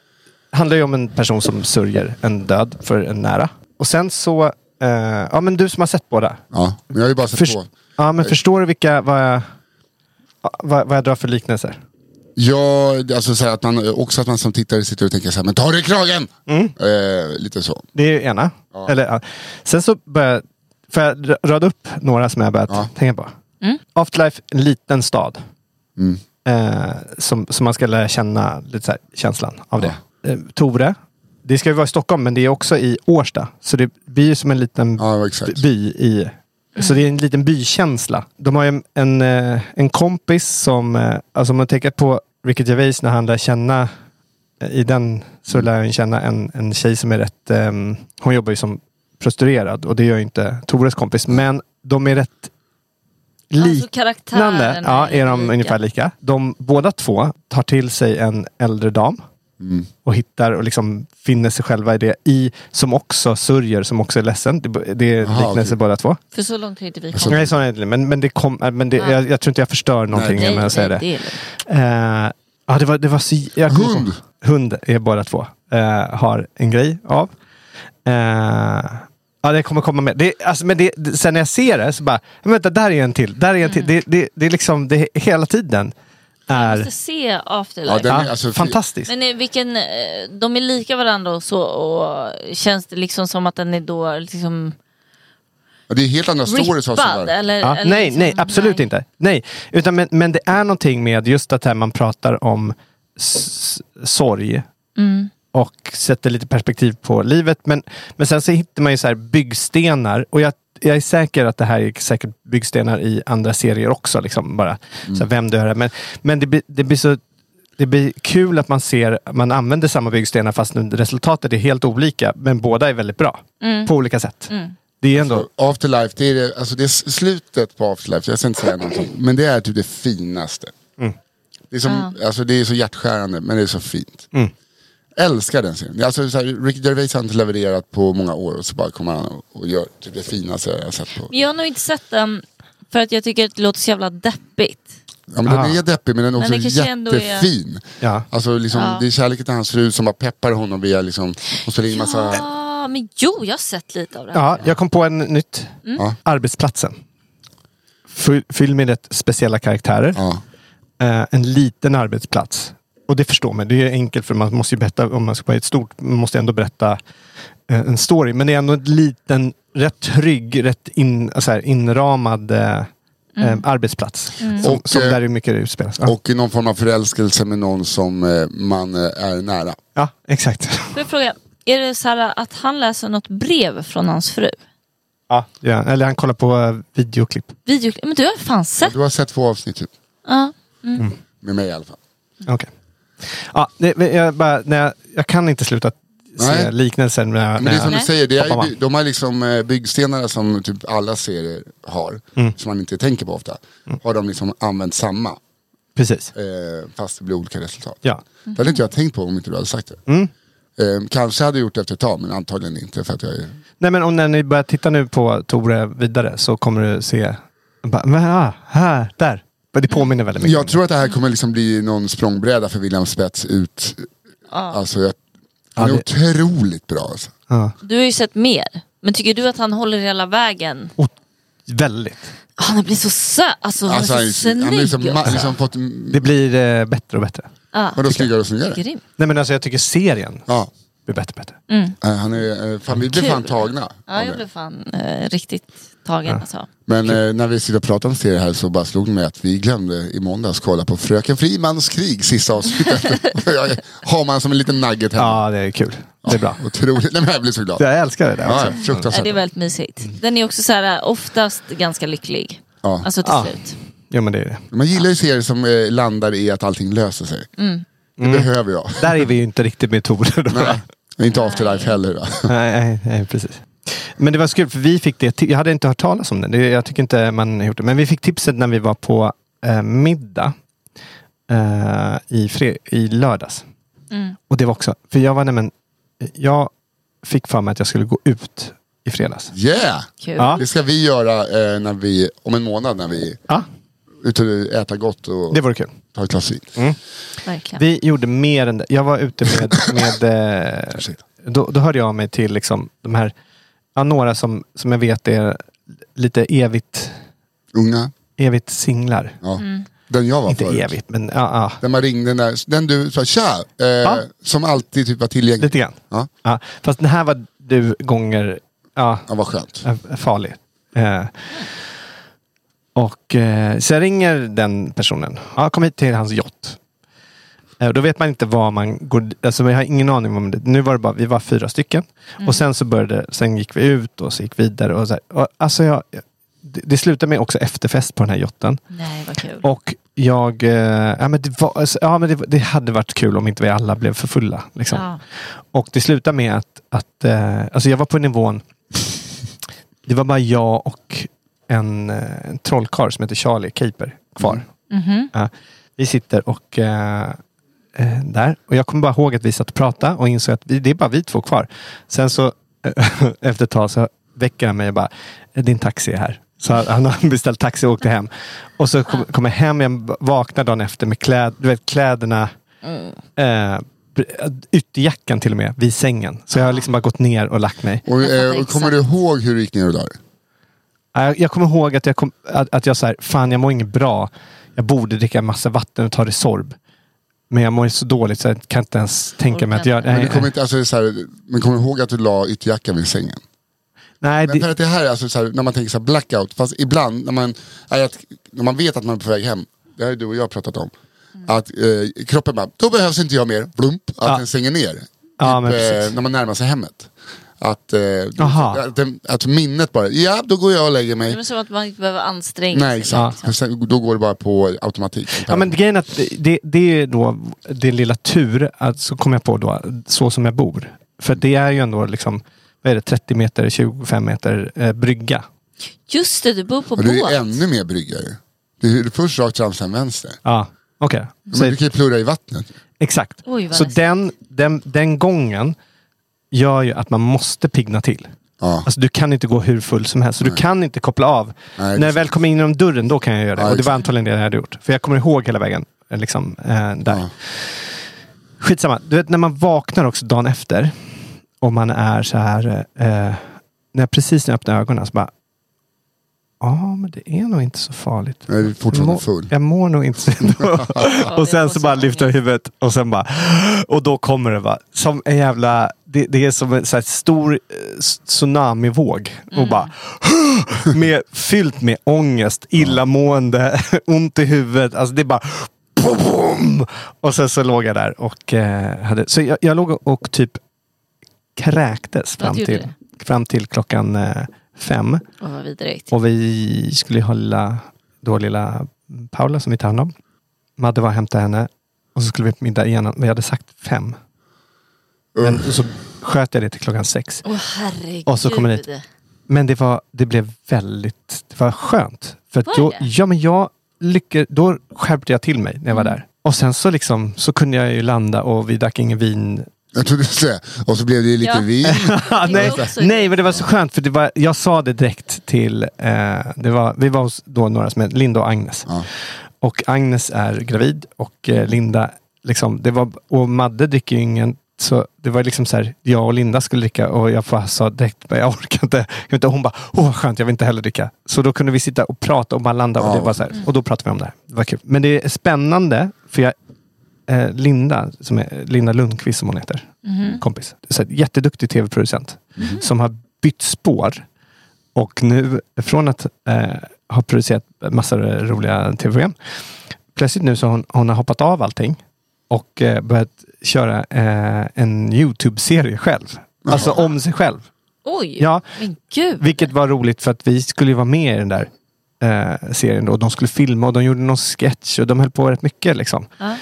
Speaker 4: handlar ju om en person som sörjer en död för en nära. Och sen så, eh, ja men du som har sett båda.
Speaker 3: ja, men jag har ju bara sett
Speaker 4: Förs-
Speaker 3: två.
Speaker 4: ja, men förstår du vilka, vad jag, vad, vad jag drar för liknelser?
Speaker 3: Ja, alltså så här att man, också att man som tittare sitter och tänker så här, men ta dig i kragen!
Speaker 4: Mm.
Speaker 3: Eh, lite så.
Speaker 4: Det är ju ena. Eller, ja. Sen så börjar får jag ra- rada upp några som jag börjat tänka på. Afterlife, en liten stad.
Speaker 3: Mm.
Speaker 4: Eh, som, som man ska lära känna lite så här, känslan av det. Eh, Tore, det ska ju vara i Stockholm men det är också i Årsta. Så det blir ju som en liten
Speaker 3: Ja, exakt.
Speaker 4: by i... Så det är en liten bykänsla. De har ju en, en, eh, en kompis som, eh, alltså om man tänker på Ricky Gervais när han lär känna, eh, i den så lär han känna en, en tjej som är rätt, ehm, hon jobbar ju som prostituerad och det gör ju inte Tores kompis, men de är rätt
Speaker 5: Alltså
Speaker 4: liknande.
Speaker 5: karaktärerna
Speaker 4: ja, är de
Speaker 5: lika.
Speaker 4: ungefär lika. De båda två tar till sig en äldre dam
Speaker 3: Mm.
Speaker 4: och hittar och liksom finner sig själva i det, i, som också sörjer, som också är ledsen. Det, det är
Speaker 3: Aha,
Speaker 4: liknelser
Speaker 3: okej.
Speaker 4: båda två.
Speaker 5: För så långt har inte vi kommit.
Speaker 4: Nej, så är det inte. Men, men, det kom, äh, men det,
Speaker 5: Ja.
Speaker 4: jag, jag tror inte jag förstör någonting
Speaker 5: Nej,
Speaker 4: när jag säger det.
Speaker 5: är lugnt.
Speaker 4: Eh, ja, det var, det var så... Jag kommer
Speaker 3: Hund!
Speaker 4: ihåg- Hund är båda två. eh, har en grej av. Eh, ja, det kommer komma med. Det, alltså, men det, det-
Speaker 5: Mm.
Speaker 4: sen när jag ser det så bara, men vänta, där är en till. Där är en till. Det, det, det är liksom, det är hela tiden.
Speaker 5: Jag
Speaker 4: är
Speaker 5: måste se Afterlife.
Speaker 4: Ja, den är- Ja, alltså, fy- fantastisk.
Speaker 5: Men eh, vilken, eh, de är lika varandra och så och känns det liksom som att den är då liksom
Speaker 3: Ja, det är helt andra stories.
Speaker 5: Rippad,
Speaker 3: alltså, där.
Speaker 5: eller-
Speaker 4: Ja,
Speaker 5: eller
Speaker 4: nej,
Speaker 5: liksom-
Speaker 4: nej, absolut inte. Nej. Utan, men, men det är någonting med just att här man pratar om s- sorg
Speaker 5: Mm.
Speaker 4: och sätter lite perspektiv på livet. Men, men sen så hittar man ju så här byggstenar. Och jag, jag är säker att det här är säkert byggstenar i andra serier också. Liksom bara. Så här, vem du är. Men, men det, blir- det blir så det blir kul att man ser man använder samma byggstenar fast nu resultatet är helt olika. Men båda är väldigt bra.
Speaker 3: Mm.
Speaker 4: På olika sätt.
Speaker 5: Mm.
Speaker 4: Det är ändå...
Speaker 3: Afterlife, det är, det- alltså, det är s- slutet på Afterlife, jag ska inte säga någonting. Men det är typ det finaste.
Speaker 4: Mm.
Speaker 3: Det, är som, alltså, det är så hjärtskärande, men det är så fint.
Speaker 4: Mm.
Speaker 3: Älskar den serien. Alltså, så här, Ricky Gervais har inte levererat på många år och så bara kommer han och, och gör typ det finaste jag har sett på.
Speaker 5: Men Jag har nog inte sett den för att jag tycker att det låter så jävla deppigt.
Speaker 3: Ja, men den
Speaker 4: Ah.
Speaker 3: är deppig men den
Speaker 5: Men
Speaker 3: är också
Speaker 5: det kanske ändå är-
Speaker 3: jättefin.
Speaker 4: Ja.
Speaker 3: Alltså, liksom,
Speaker 5: Ja.
Speaker 3: Det är kärleken till hans fru som bara peppar honom via liksom, och spelar in massa...
Speaker 5: Ja, Ah, men jo, jag har sett lite av den.
Speaker 4: Ja, jag kom på en nytt.
Speaker 5: Mm.
Speaker 3: Ja.
Speaker 4: Arbetsplatsen. Fy- Fylld med rätt speciella karaktärer.
Speaker 3: Ja.
Speaker 4: Eh, en liten arbetsplats. Och det förstår man, det är ju enkelt för man måste ju berätta, om man ska vara i ett stort, man måste ändå berätta eh, en story. Men det är ändå en liten, rätt trygg, rätt in, så här, inramad eh, eh, arbetsplats. Som,
Speaker 3: Mm. Och,
Speaker 4: som
Speaker 3: eh,
Speaker 4: där är mycket utspelas. Ja,
Speaker 3: Och i någon form av förälskelse med någon som eh, man eh, är nära.
Speaker 4: ja exakt.
Speaker 5: Får jag fråga, är det så här att han läser något brev från hans fru?
Speaker 4: Ja. eller han kollar på eh, videoklipp.
Speaker 5: Video... Men du har fan sett?
Speaker 3: Du har sett två avsnitt typ. Mm.
Speaker 5: Ja. Mm.
Speaker 3: Med mig i alla fall.
Speaker 4: Okej. Ja, det, men jag, bara, när jag, jag kan inte sluta se
Speaker 3: Nej.
Speaker 4: liknelsen. När, jag-
Speaker 3: Men
Speaker 4: när
Speaker 3: det är
Speaker 4: jag-
Speaker 3: som du säger, det
Speaker 4: Pappa,
Speaker 3: är, ju-
Speaker 4: mamma.
Speaker 3: de har liksom eh, byggstenar som typ alla serier har.
Speaker 4: Mm.
Speaker 3: Som man inte tänker på ofta. Har de liksom använt samma.
Speaker 4: Precis.
Speaker 3: Eh, fast det blir olika resultat.
Speaker 4: Ja.
Speaker 5: Mm.
Speaker 3: Det hade inte jag tänkt på om inte du hade sagt det.
Speaker 4: Mm.
Speaker 3: Eh, kanske hade jag gjort det efter ett tag men antagligen inte för att jag är...
Speaker 4: Nej, men om när ni börjar titta nu på Tore vidare så kommer du se... Bara, men, ah, här, där. Men Det påminner väldigt mycket. om
Speaker 3: Jag
Speaker 4: det.
Speaker 3: tror att det här kommer liksom bli någon språngbräda för William Spets ut. Alltså jag, han är
Speaker 4: Ja,
Speaker 3: otroligt bra alltså.
Speaker 4: Ja.
Speaker 5: Du har ju sett mer. Men tycker du att han håller hela vägen? Ah,
Speaker 4: Väldigt.
Speaker 5: Han blir så söt, alltså, han
Speaker 3: Alltså,
Speaker 5: är så
Speaker 3: han,
Speaker 5: snygg.
Speaker 3: han är liksom, ma-
Speaker 5: också.
Speaker 3: liksom fått...
Speaker 4: Det blir eh, bättre och bättre.
Speaker 5: Ja,
Speaker 3: Vadå snyggare och snyggare?
Speaker 5: grym.
Speaker 4: Nej, men alltså jag tycker serien
Speaker 3: Ja.
Speaker 4: blir bättre och bättre.
Speaker 3: Eh, Han är, eh, fan, vi blev
Speaker 5: Kul.
Speaker 3: fan tagna.
Speaker 5: Ja,
Speaker 3: av
Speaker 5: jag
Speaker 3: det.
Speaker 5: blev fan eh, riktigt tagen alltså.
Speaker 3: Men eh, när vi sitter och pratar om serier här så bara slog det mig att vi glömde i måndags kolla på Fröken Frimans krig sista avsnittet. Jag har man som en liten nugget hemma.
Speaker 4: Ja, det är kul. Det är bra.
Speaker 3: Otroligt. Nej, men jag blir så glad.
Speaker 4: Jag älskar det där.
Speaker 3: Ja,
Speaker 4: också.
Speaker 5: Ja,
Speaker 3: fruktansvärt.
Speaker 5: det är väldigt mysigt.
Speaker 4: Mm.
Speaker 5: Den är också så här, oftast ganska lycklig.
Speaker 3: Ja.
Speaker 5: Alltså till
Speaker 4: Ja.
Speaker 5: slut.
Speaker 4: Jo, men det är det.
Speaker 3: Man gillar ju serier som eh, landar i att allting löser sig.
Speaker 5: Mm.
Speaker 4: Mm.
Speaker 3: Det behöver jag.
Speaker 4: Där är vi ju inte riktigt med Tore. Då.
Speaker 3: Nej. Men Inte Afterlife heller. Va?
Speaker 4: Nej, nej, nej, precis. Men det var så kul, för vi fick det. ti- Jag hade inte hört talas om den. Det- Jag tycker inte man har gjort det. Men vi fick tipset när vi var på eh, middag eh, i, fre- i lördags.
Speaker 5: Mm.
Speaker 4: Och det var också, för jag var nämen, jag fick för mig att jag skulle gå ut i fredags.
Speaker 3: Yeah!
Speaker 5: Kul.
Speaker 4: Ja,
Speaker 3: Det ska vi göra eh, när vi, om en månad när vi
Speaker 4: ja
Speaker 3: är ute och äter gott och
Speaker 4: det vore kul. Mm.
Speaker 3: tar ett glas vin.
Speaker 5: Verkligen.
Speaker 4: Vi gjorde mer än det. Jag var ute med... med eh,
Speaker 3: Ursäkta.
Speaker 4: då, då hörde jag av mig till liksom de här, ja, några som, som jag vet är lite evigt,
Speaker 3: Unga.
Speaker 4: evigt singlar.
Speaker 3: Ja.
Speaker 5: Mm.
Speaker 3: Den jag var
Speaker 4: Inte
Speaker 3: förut.
Speaker 4: evigt, men ja, ja.
Speaker 3: Den man ringde när, den du sa tja, eh,
Speaker 4: Ja.
Speaker 3: som alltid typ var tillgänglig.
Speaker 4: lite grann.
Speaker 3: Ja,
Speaker 4: Ja. Fast den här var du gånger ja,
Speaker 3: ja vad skönt.
Speaker 4: eh, farlig. Eh, och eh, så jag ringer den personen. Ja, kom hit till hans yacht. Eh, Då vet man inte vad man går... Alltså jag har ingen aning om det. Nu var det bara, vi var fyra stycken.
Speaker 5: Mm.
Speaker 4: Och sen så började, sen gick vi ut och så gick vi vidare. Och så här. Och, alltså jag, det, det slutade med också efterfest på den här yachten.
Speaker 5: Nej, vad kul.
Speaker 4: Och jag... eh, Ja, men, det, var, alltså, ja, men det, det hade varit kul om inte vi alla blev för fulla. Liksom.
Speaker 5: Ja.
Speaker 4: Och det slutade med att, att eh, alltså jag var på nivån, det var bara jag och en, eh, en trollkarl som heter Charlie Caper kvar.
Speaker 5: Mhm.
Speaker 4: Ja, vi sitter och eh, eh, där. Och jag kommer bara ihåg att vi satt och pratade och insåg att vi, det är bara vi två kvar. Sen så eh, efter ett tag så väcker han mig och bara, "Eh, din taxi är här. Så han- han har beställt taxi och åkte hem. Och så kom- kommer jag hem, jag vaknar dagen efter med kläd, du vet, kläderna, eh, ytterjackan till och med, vid sängen. Så jag har liksom bara gått ner och lagt mig.
Speaker 3: Och,
Speaker 5: fattar
Speaker 3: eh, och kommer du ihåg hur du gick ner och där?
Speaker 4: Ja, Jag, jag kommer ihåg att jag, kom, att, att jag så här, fan jag mår inget bra. Jag borde dricka massa vatten och ta Resorb. Men jag mår så dåligt så jag kan inte ens tänka mig att göra det.
Speaker 3: Men,
Speaker 4: Nej,
Speaker 3: du kommer inte, alltså, det är så här, men kommer du ihåg att du la ytterjackan vid sängen?
Speaker 4: Nej,
Speaker 3: men för att det här är alltså så här, när man tänker så här blackout, fast ibland när man, är att, när man vet att man är på väg hem, det här är du och jag pratat om,
Speaker 4: Mm.
Speaker 3: att eh, kroppen bara, då behövs inte jag mer, blump, att den stänger ner.
Speaker 4: Ja,
Speaker 3: Typ,
Speaker 4: men precis.
Speaker 3: eh, när man närmar sig hemmet. Att, eh,
Speaker 4: Aha.
Speaker 3: att, den- att minnet bara, ja då går jag och lägger
Speaker 5: Det
Speaker 3: mig.
Speaker 5: är som att man inte behöver anstränga
Speaker 3: Nej exakt, För sen, då går det bara på automatik.
Speaker 4: Ja, men grejen är att det, det är ju då din lilla tur, att så kom jag på då, så som jag bor. För det är ju ändå liksom, vad är det, 30 meter, 25 meter eh, brygga.
Speaker 5: Just det, du bor på
Speaker 3: Och det är
Speaker 5: båt.
Speaker 3: ännu mer brygga ju. Det är först rakt fram, sen vänster.
Speaker 4: Ja, okej. Så-
Speaker 3: Men du kan ju plurra i vattnet.
Speaker 4: Exakt.
Speaker 5: Oj, vad
Speaker 4: så
Speaker 5: läskigt.
Speaker 4: den, den, den gången gör ju att man måste pigna till.
Speaker 3: Ja.
Speaker 4: Alltså du kan inte gå hur full som helst. Så du kan inte koppla av.
Speaker 3: Nej, det är
Speaker 4: När jag väl kommer in genom dörren, då kan jag göra det.
Speaker 3: Ja,
Speaker 4: och det var
Speaker 3: exakt.
Speaker 4: antagligen det jag hade gjort. För jag kommer ihåg hela vägen. eh, Liksom, eh, där. Skitsamma. Du vet när man vaknar också dagen efter. Och man är så här. Eh, när jag precis när jag öppnar ögonen så bara. Ja, men det är nog inte så farligt.
Speaker 3: Jag är
Speaker 4: Jag
Speaker 3: fortfarande
Speaker 4: mår-
Speaker 3: full.
Speaker 4: Jag mår nog inte så ändå. och sen så bara lyfter jag huvudet och sen bara... Och då kommer det va. Som en jävla... Det, det är som en så här stor eh, s- tsunamivåg. Och bara... Med, fyllt med ångest, illamående, ont i huvudet. Alltså det är bara... Boom! Och sen så låg jag där och eh, hade... Så jag, jag låg och typ kräktes
Speaker 5: Ja,
Speaker 4: fram
Speaker 5: du gjorde
Speaker 4: till, fram till klockan eh, fem.
Speaker 5: Åh, vad vidrigt.
Speaker 4: Och vi skulle ju ha lilla, då lilla Paula som vi tar hand om. Madde var och hämtade henne. Och så skulle vi på middag igen. Vi hade sagt fem. Men så sköt jag det till klockan sex.
Speaker 5: Åh herregud.
Speaker 4: Och så kommer ni hit. Men det, var, det blev väldigt det var skönt. För att
Speaker 5: Var
Speaker 4: då,
Speaker 5: det?
Speaker 4: ja, men jag lyckades, då skärpte jag till mig när jag var
Speaker 5: Mm.
Speaker 4: där. Och sen så, liksom, så kunde jag ju landa och vi drack ingen vin.
Speaker 3: Jag trodde du skulle säga, och så blev det ju lite
Speaker 5: Ja.
Speaker 3: vin.
Speaker 4: Ah, nej,
Speaker 5: Det var också-
Speaker 4: nej, men det var så skönt. För det var, jag sa det direkt till... Eh, det var, vi var hos då några som hette Linda och Agnes.
Speaker 3: Ja.
Speaker 4: Och Agnes är gravid och eh, Linda, liksom, det var, och Madde dricker ju ingen. Så det var liksom så här, jag och Linda skulle dricka och jag bara sa direkt, jag orkar inte. Jag vill inte. Hon bara, åh vad skönt, jag vill inte heller dricka. Så då kunde vi sitta och prata och bara landa och,
Speaker 3: Ja.
Speaker 4: det var så här, och då pratade vi om det här. Det var kul. Men det är spännande, för jag, eh, Linda, som är Linda Lundqvist som hon heter,
Speaker 5: Mm-hmm. Mm.
Speaker 4: kompis. Så här, jätteduktig tv-producent Mm. som har bytt spår. Och nu, från att eh, ha producerat massa roliga tv-program, plötsligt nu så har hon, hon har hoppat av allting och eh, börjat köra eh, en YouTube-serie själv. Alltså om sig själv.
Speaker 5: Oj,
Speaker 4: Ja,
Speaker 5: men gud.
Speaker 4: vilket var roligt för att vi skulle ju vara med i den där eh, serien. Då. Och De skulle filma och de gjorde någon sketch och de höll på rätt mycket. Liksom.
Speaker 5: Ja.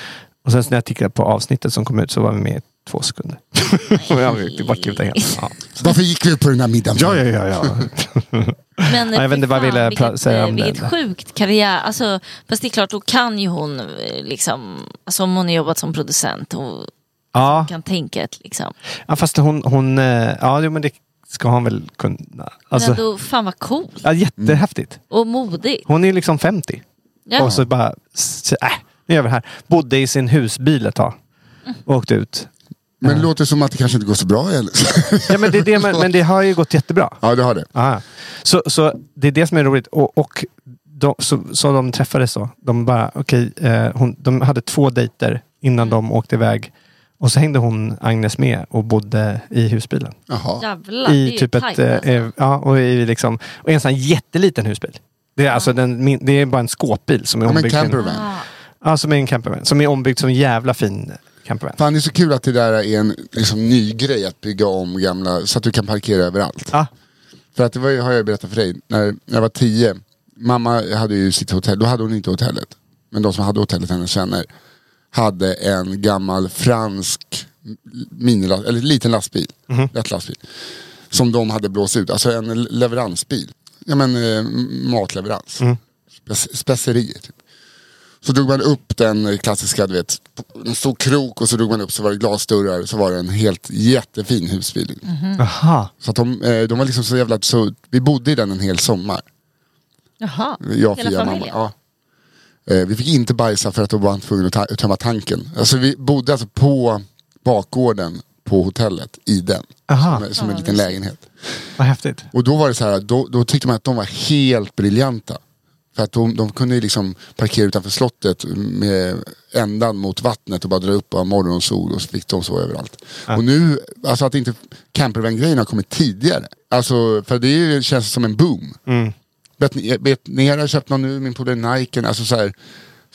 Speaker 4: Och sen så när jag tittade på avsnittet som kom ut så var vi med i två sekunder. och jag blev bortklippt helt. Ja.
Speaker 3: Varför gick vi på den här middagen?
Speaker 4: Ja, ja, ja. ja.
Speaker 5: Men
Speaker 4: jag vet inte
Speaker 5: fy
Speaker 4: vad jag
Speaker 5: fan,
Speaker 4: ville pra-
Speaker 5: vilket,
Speaker 4: säga
Speaker 5: eh,
Speaker 4: om det.
Speaker 5: vilket sjukt karriär. Alltså, fast det är klart, då kan ju hon, eh, liksom, alltså, om hon har jobbat som producent, hon
Speaker 4: ja.
Speaker 5: kan tänket. Liksom.
Speaker 4: ja fast hon, hon eh, ja jo, men det ska hon väl kunna.
Speaker 5: Men
Speaker 4: Alltså,
Speaker 5: ändå, fan vad coolt
Speaker 4: ja, jättehäftigt.
Speaker 5: och modigt.
Speaker 4: Hon är ju liksom 50.
Speaker 5: Ja.
Speaker 4: Och så bara, s- äh, nu gör vi det här. Bodde i sin husbil ett tag.
Speaker 5: Mm.
Speaker 4: Och åkte ut.
Speaker 3: Men det låter som att det kanske inte går så bra heller.
Speaker 4: Ja, men, det är det, men, men det har ju gått jättebra.
Speaker 3: ja, det har det.
Speaker 4: Aha. Så, så det är det som är roligt. Och, och de, så, så de träffades då. De, bara, okej, eh, hon, de hade två dejter
Speaker 5: Mm.
Speaker 4: innan de åkte iväg. Och så hängde hon, Agnes, med och bodde i husbilen.
Speaker 3: Jaha.
Speaker 5: Jävlar, det är
Speaker 4: I
Speaker 5: ju
Speaker 4: typ ett,
Speaker 5: tajt,
Speaker 4: eh,
Speaker 5: alltså.
Speaker 4: eh, ja, och i liksom, och i en sån här jätteliten husbil. Det är, alltså den, min, det är bara en skåpbil som är
Speaker 3: Ja, men
Speaker 4: ombyggd. till en-
Speaker 3: campervan.
Speaker 4: Ja, som är en campervan. Som är ombyggd som en jävla fin campervan.
Speaker 3: Fan, det är så kul att det där är en liksom, ny grej att bygga om gamla, så att du kan parkera överallt.
Speaker 4: Ja.
Speaker 3: För att det var, ju- har jag berättat för dig, när, när jag var tio, mamma hade ju sitt hotell, då hade hon inte hotellet. Men de som hade hotellet, hennes vänner, hade en gammal fransk minilast, eller liten lastbil, lätt lastbil. Som de hade blåst ut, alltså en leveransbil. Ja men eh, matleverans. Spec- Specerier typ. Så drog man upp den klassiska, du vet, en stor krok och så drog man upp så var det glasdörrar, så var det en helt jättefin husbil.
Speaker 5: Mm.
Speaker 4: Aha.
Speaker 3: Så att de, eh, de var liksom så jävla, så vi bodde i den en hel sommar.
Speaker 5: Jaha,
Speaker 3: Jag,
Speaker 5: hela
Speaker 3: Fia, mamma.
Speaker 5: familjen.
Speaker 3: Ja. Eh, Vi fick inte bajsa för att då var han tvungen att ta- tömma tanken. Alltså vi bodde alltså på bakgården på hotellet i den.
Speaker 4: Aha.
Speaker 3: Som, som en
Speaker 5: Ja,
Speaker 3: liten
Speaker 5: visst.
Speaker 3: lägenhet.
Speaker 4: Vad häftigt.
Speaker 3: Och då var det så här, då, då tyckte man att de var helt briljanta. För att de, de kunde ju liksom parkera utanför slottet med ändan mot vattnet och bara dra upp av morgonsol och så fick de så överallt. Och nu, alltså att inte campervan-grejen har kommit tidigare. Alltså, för det är ju- känns som en boom. Mm. Betnér har köpt någon nu, min polare Niken, alltså så här,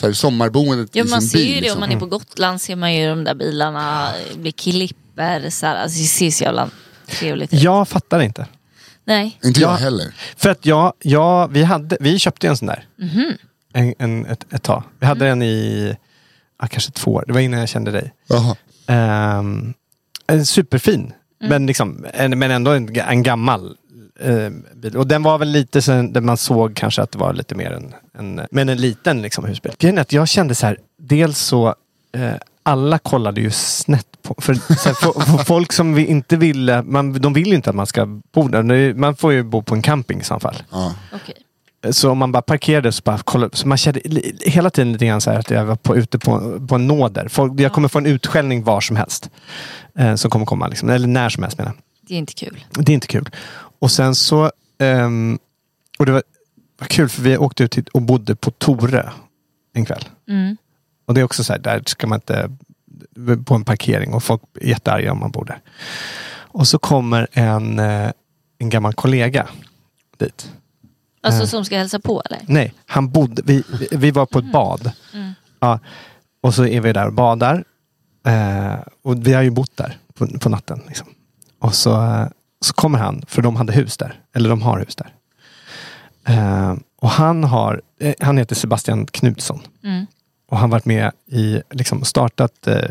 Speaker 3: så här sommarboendet
Speaker 5: Ja,
Speaker 3: i
Speaker 5: man
Speaker 3: sin
Speaker 5: ser
Speaker 3: bil.
Speaker 5: ju
Speaker 3: liksom. Mm.
Speaker 5: det
Speaker 4: liksom.
Speaker 5: om man
Speaker 4: Mm.
Speaker 5: är på Gotland ser man ju de där bilarna bli klipper. Så här. Alltså, det ser så jävla trevligt ut.
Speaker 4: Jag fattar inte.
Speaker 5: Nej.
Speaker 3: heller.
Speaker 4: För att jag, jag vi, hade, vi köpte ju en sån där.
Speaker 5: Mhm. Mm.
Speaker 4: En, en, ett, ett tag. Vi hade en i ah, kanske två år. Det var innan jag kände dig. Ehm, en superfin. Men, liksom, en, men ändå en, ga- en gammal eh, bil. Och den var väl lite så där man såg kanske att det var lite mer en, en men en liten liksom, husbil. Grejen är att jag kände så här, dels så eh, alla kollade ju snett på, för, så här, fo- fo- folk som vi inte ville, man, de vill ju inte att man ska bo där. Nu- Man får ju bo på en camping i så fall.
Speaker 5: Okej.
Speaker 4: Så om man bara parkerade så bara kollade, så man kände li- hela tiden lite grann så här att jag var på, ute på, på en nåder. Folk, jag kommer få en utskällning var som helst. Eh, som kommer komma, liksom, eller när som helst menar jag.
Speaker 5: Det är inte kul.
Speaker 4: Det är inte kul. Och sen så... ehm, och det var, var kul för vi åkte ut hit och bodde på Torö en kväll.
Speaker 5: Mm.
Speaker 4: Och det är också så här, där ska man inte... På en parkering och folk är jättearga om man bor där. Och så kommer en, eh, en gammal kollega dit.
Speaker 5: Alltså
Speaker 4: Eh.
Speaker 5: som ska hälsa på eller?
Speaker 4: Nej, han bodde, vi, vi- vi var på ett bad.
Speaker 5: Mm.
Speaker 4: Ja, och så är vi där och badar. Eh, och vi har ju bott där på, på natten. Liksom. Och så, eh, så kommer han, för de hade hus där. Eller de har hus där. Eh, och han har, eh, han heter Sebastian Knutsson.
Speaker 5: Mm.
Speaker 4: Och han varit med i, liksom startat, eh,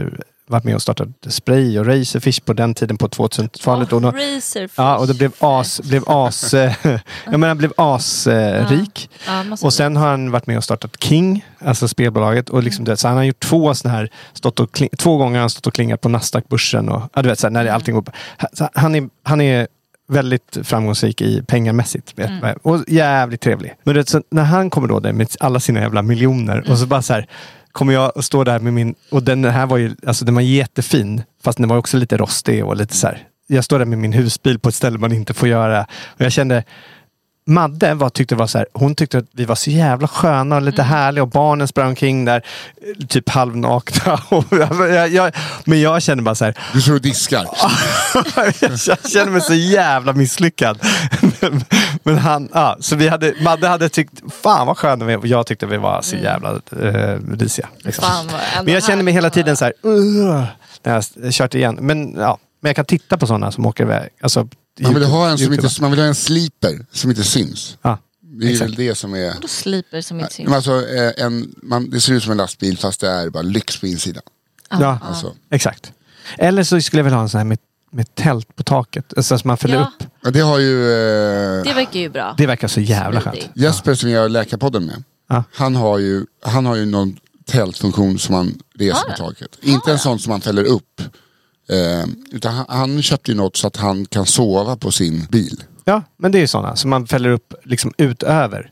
Speaker 4: varit med och startat Spray och Razorfish på den tiden på 2000-talet. och då-
Speaker 5: Razorfish.
Speaker 4: Ja, och det blev as, blev as, eh, jag menar, blev as eh, rik.
Speaker 5: Ja, massa
Speaker 4: Och sen har han varit med och startat King, alltså spelbolaget. Och liksom, du vet, så han har gjort två sådana här, stått och kling, två gånger har han stått och klingat på Nasdaq-börsen. Och, ja, du vet, så här, när det- allting går upp. Ha- så Han är, han är väldigt framgångsrik i pengamässigt. Vet,
Speaker 12: Mm.
Speaker 4: Och jävligt trevlig. Men du vet, så när han kommer då där med alla sina jävla miljoner och så bara så här, kommer jag att stå där med min, och den här var ju, alltså den var jättefin, fast den var också lite rostig och lite så här. Jag står där med min husbil på ett ställe man inte får göra. Och jag kände, Madde var, tyckte var så här, hon tyckte att vi var så jävla sköna och lite
Speaker 5: Mm.
Speaker 4: härliga och barnen sprang omkring där eh, typ halvnakna. Och jag, jag, men jag kände bara så här.
Speaker 3: Du står och diskar.
Speaker 4: jag kände mig så jävla misslyckad. men, men han, ja, så vi hade, Madde hade tyckt, fan vad sköna vi är. Och jag tyckte vi var så jävla eh, risiga. Liksom.
Speaker 5: Mm. Fan, vad- ändå
Speaker 4: Men jag kände mig hela tiden så här, "Ugh", när jag s- kört igen. Men, ja, men jag kan titta på sådana som åker iväg. Alltså,
Speaker 3: Man vill, ha en som
Speaker 4: YouTube-
Speaker 3: inte, man vill ha en sleeper som inte syns. det är
Speaker 4: exakt.
Speaker 3: väl det som är...
Speaker 5: Då sliper som inte
Speaker 3: Men
Speaker 5: syns.
Speaker 3: alltså, eh, en, man, det ser ut som en lastbil fast det är bara lyx på insidan.
Speaker 4: Ja,
Speaker 3: Alltså.
Speaker 4: exakt. Eller så skulle jag vilja ha en sån här med, med tält på taket. Alltså så man fäller
Speaker 5: Ja.
Speaker 4: upp.
Speaker 3: Ja, det har ju... Eh,
Speaker 5: Det verkar ju bra.
Speaker 4: Det verkar så jävla skönt.
Speaker 5: Smidigt.
Speaker 3: Jesper som jag gör Läkarpodden med, han, har ju, han har ju någon tältfunktion som man reser på taket. Inte en sån som man fäller upp. Eh, utan han, han köpte ju något så att han kan sova på sin bil.
Speaker 4: Ja, men det är ju sådana som man fäller upp liksom utöver.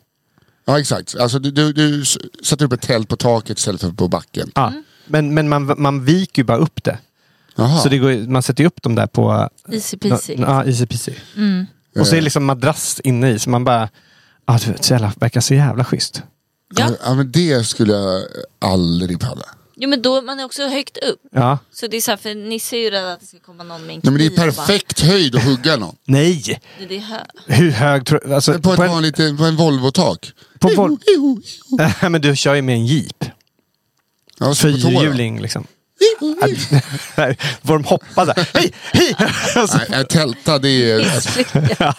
Speaker 3: Ja exakt, alltså, du, du, du s- sätter upp ett tält på taket istället för på backen.
Speaker 4: Ja.
Speaker 5: Mm.
Speaker 4: Men, men man, man viker ju bara upp det.
Speaker 3: Jaha.
Speaker 4: Så det går, ju- man sätter ju upp dem där på...
Speaker 5: Easy peasy.
Speaker 4: Ja, easy peasy.
Speaker 5: Mm.
Speaker 4: Och så är det liksom madrass inne i, så man bara... Ja, du vet, så jävla, verkar så jävla schysst.
Speaker 5: Ja.
Speaker 3: men det skulle jag aldrig palla.
Speaker 5: Jo men då man är också högt upp.
Speaker 4: Ja.
Speaker 5: Så det är så här, för Nisse är ju rädd att det ska komma någon med en
Speaker 3: Nej, men det är
Speaker 5: kniv och
Speaker 3: perfekt höjd att hugga någon.
Speaker 4: Nej!
Speaker 5: Bara, det är hö-
Speaker 4: Hur hög tror du... Alltså,
Speaker 3: På ett vanligt på en Volvo-tak.
Speaker 4: På Vol- men du kör ju med en jeep.
Speaker 3: Ja, så på tå då.
Speaker 4: Fyrhjuling liksom. Var de hoppade. Hej, hej! Alltså,
Speaker 3: Nej, nej, tälta det är...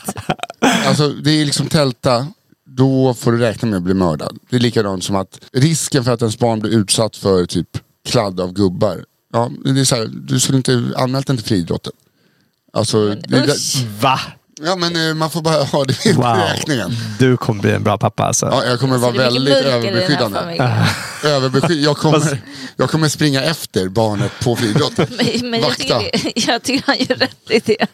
Speaker 3: alltså det är liksom tälta, då får du räkna med att bli mördad. Det är likadant som att risken för att ens barn blir utsatt för typ kladd av gubbar. Ja, det är så här, du skulle inte anmält den till friidrotten. Alltså, det, är-
Speaker 4: usch. Va?
Speaker 3: Ja men eh, man får bara ha det i
Speaker 4: Wow.
Speaker 3: beräkningen.
Speaker 4: Du kommer bli en bra pappa alltså.
Speaker 3: Ja, jag kommer vara
Speaker 5: det är mycket
Speaker 3: väldigt
Speaker 5: mörker i den här
Speaker 3: överbeskyddande.
Speaker 5: familjen.
Speaker 3: Överbesky- jag, kommer, jag kommer springa efter barnet på friidrotten.
Speaker 5: Men, men jag,
Speaker 3: Vakta.
Speaker 5: tycker, jag tycker han gör rätt i det.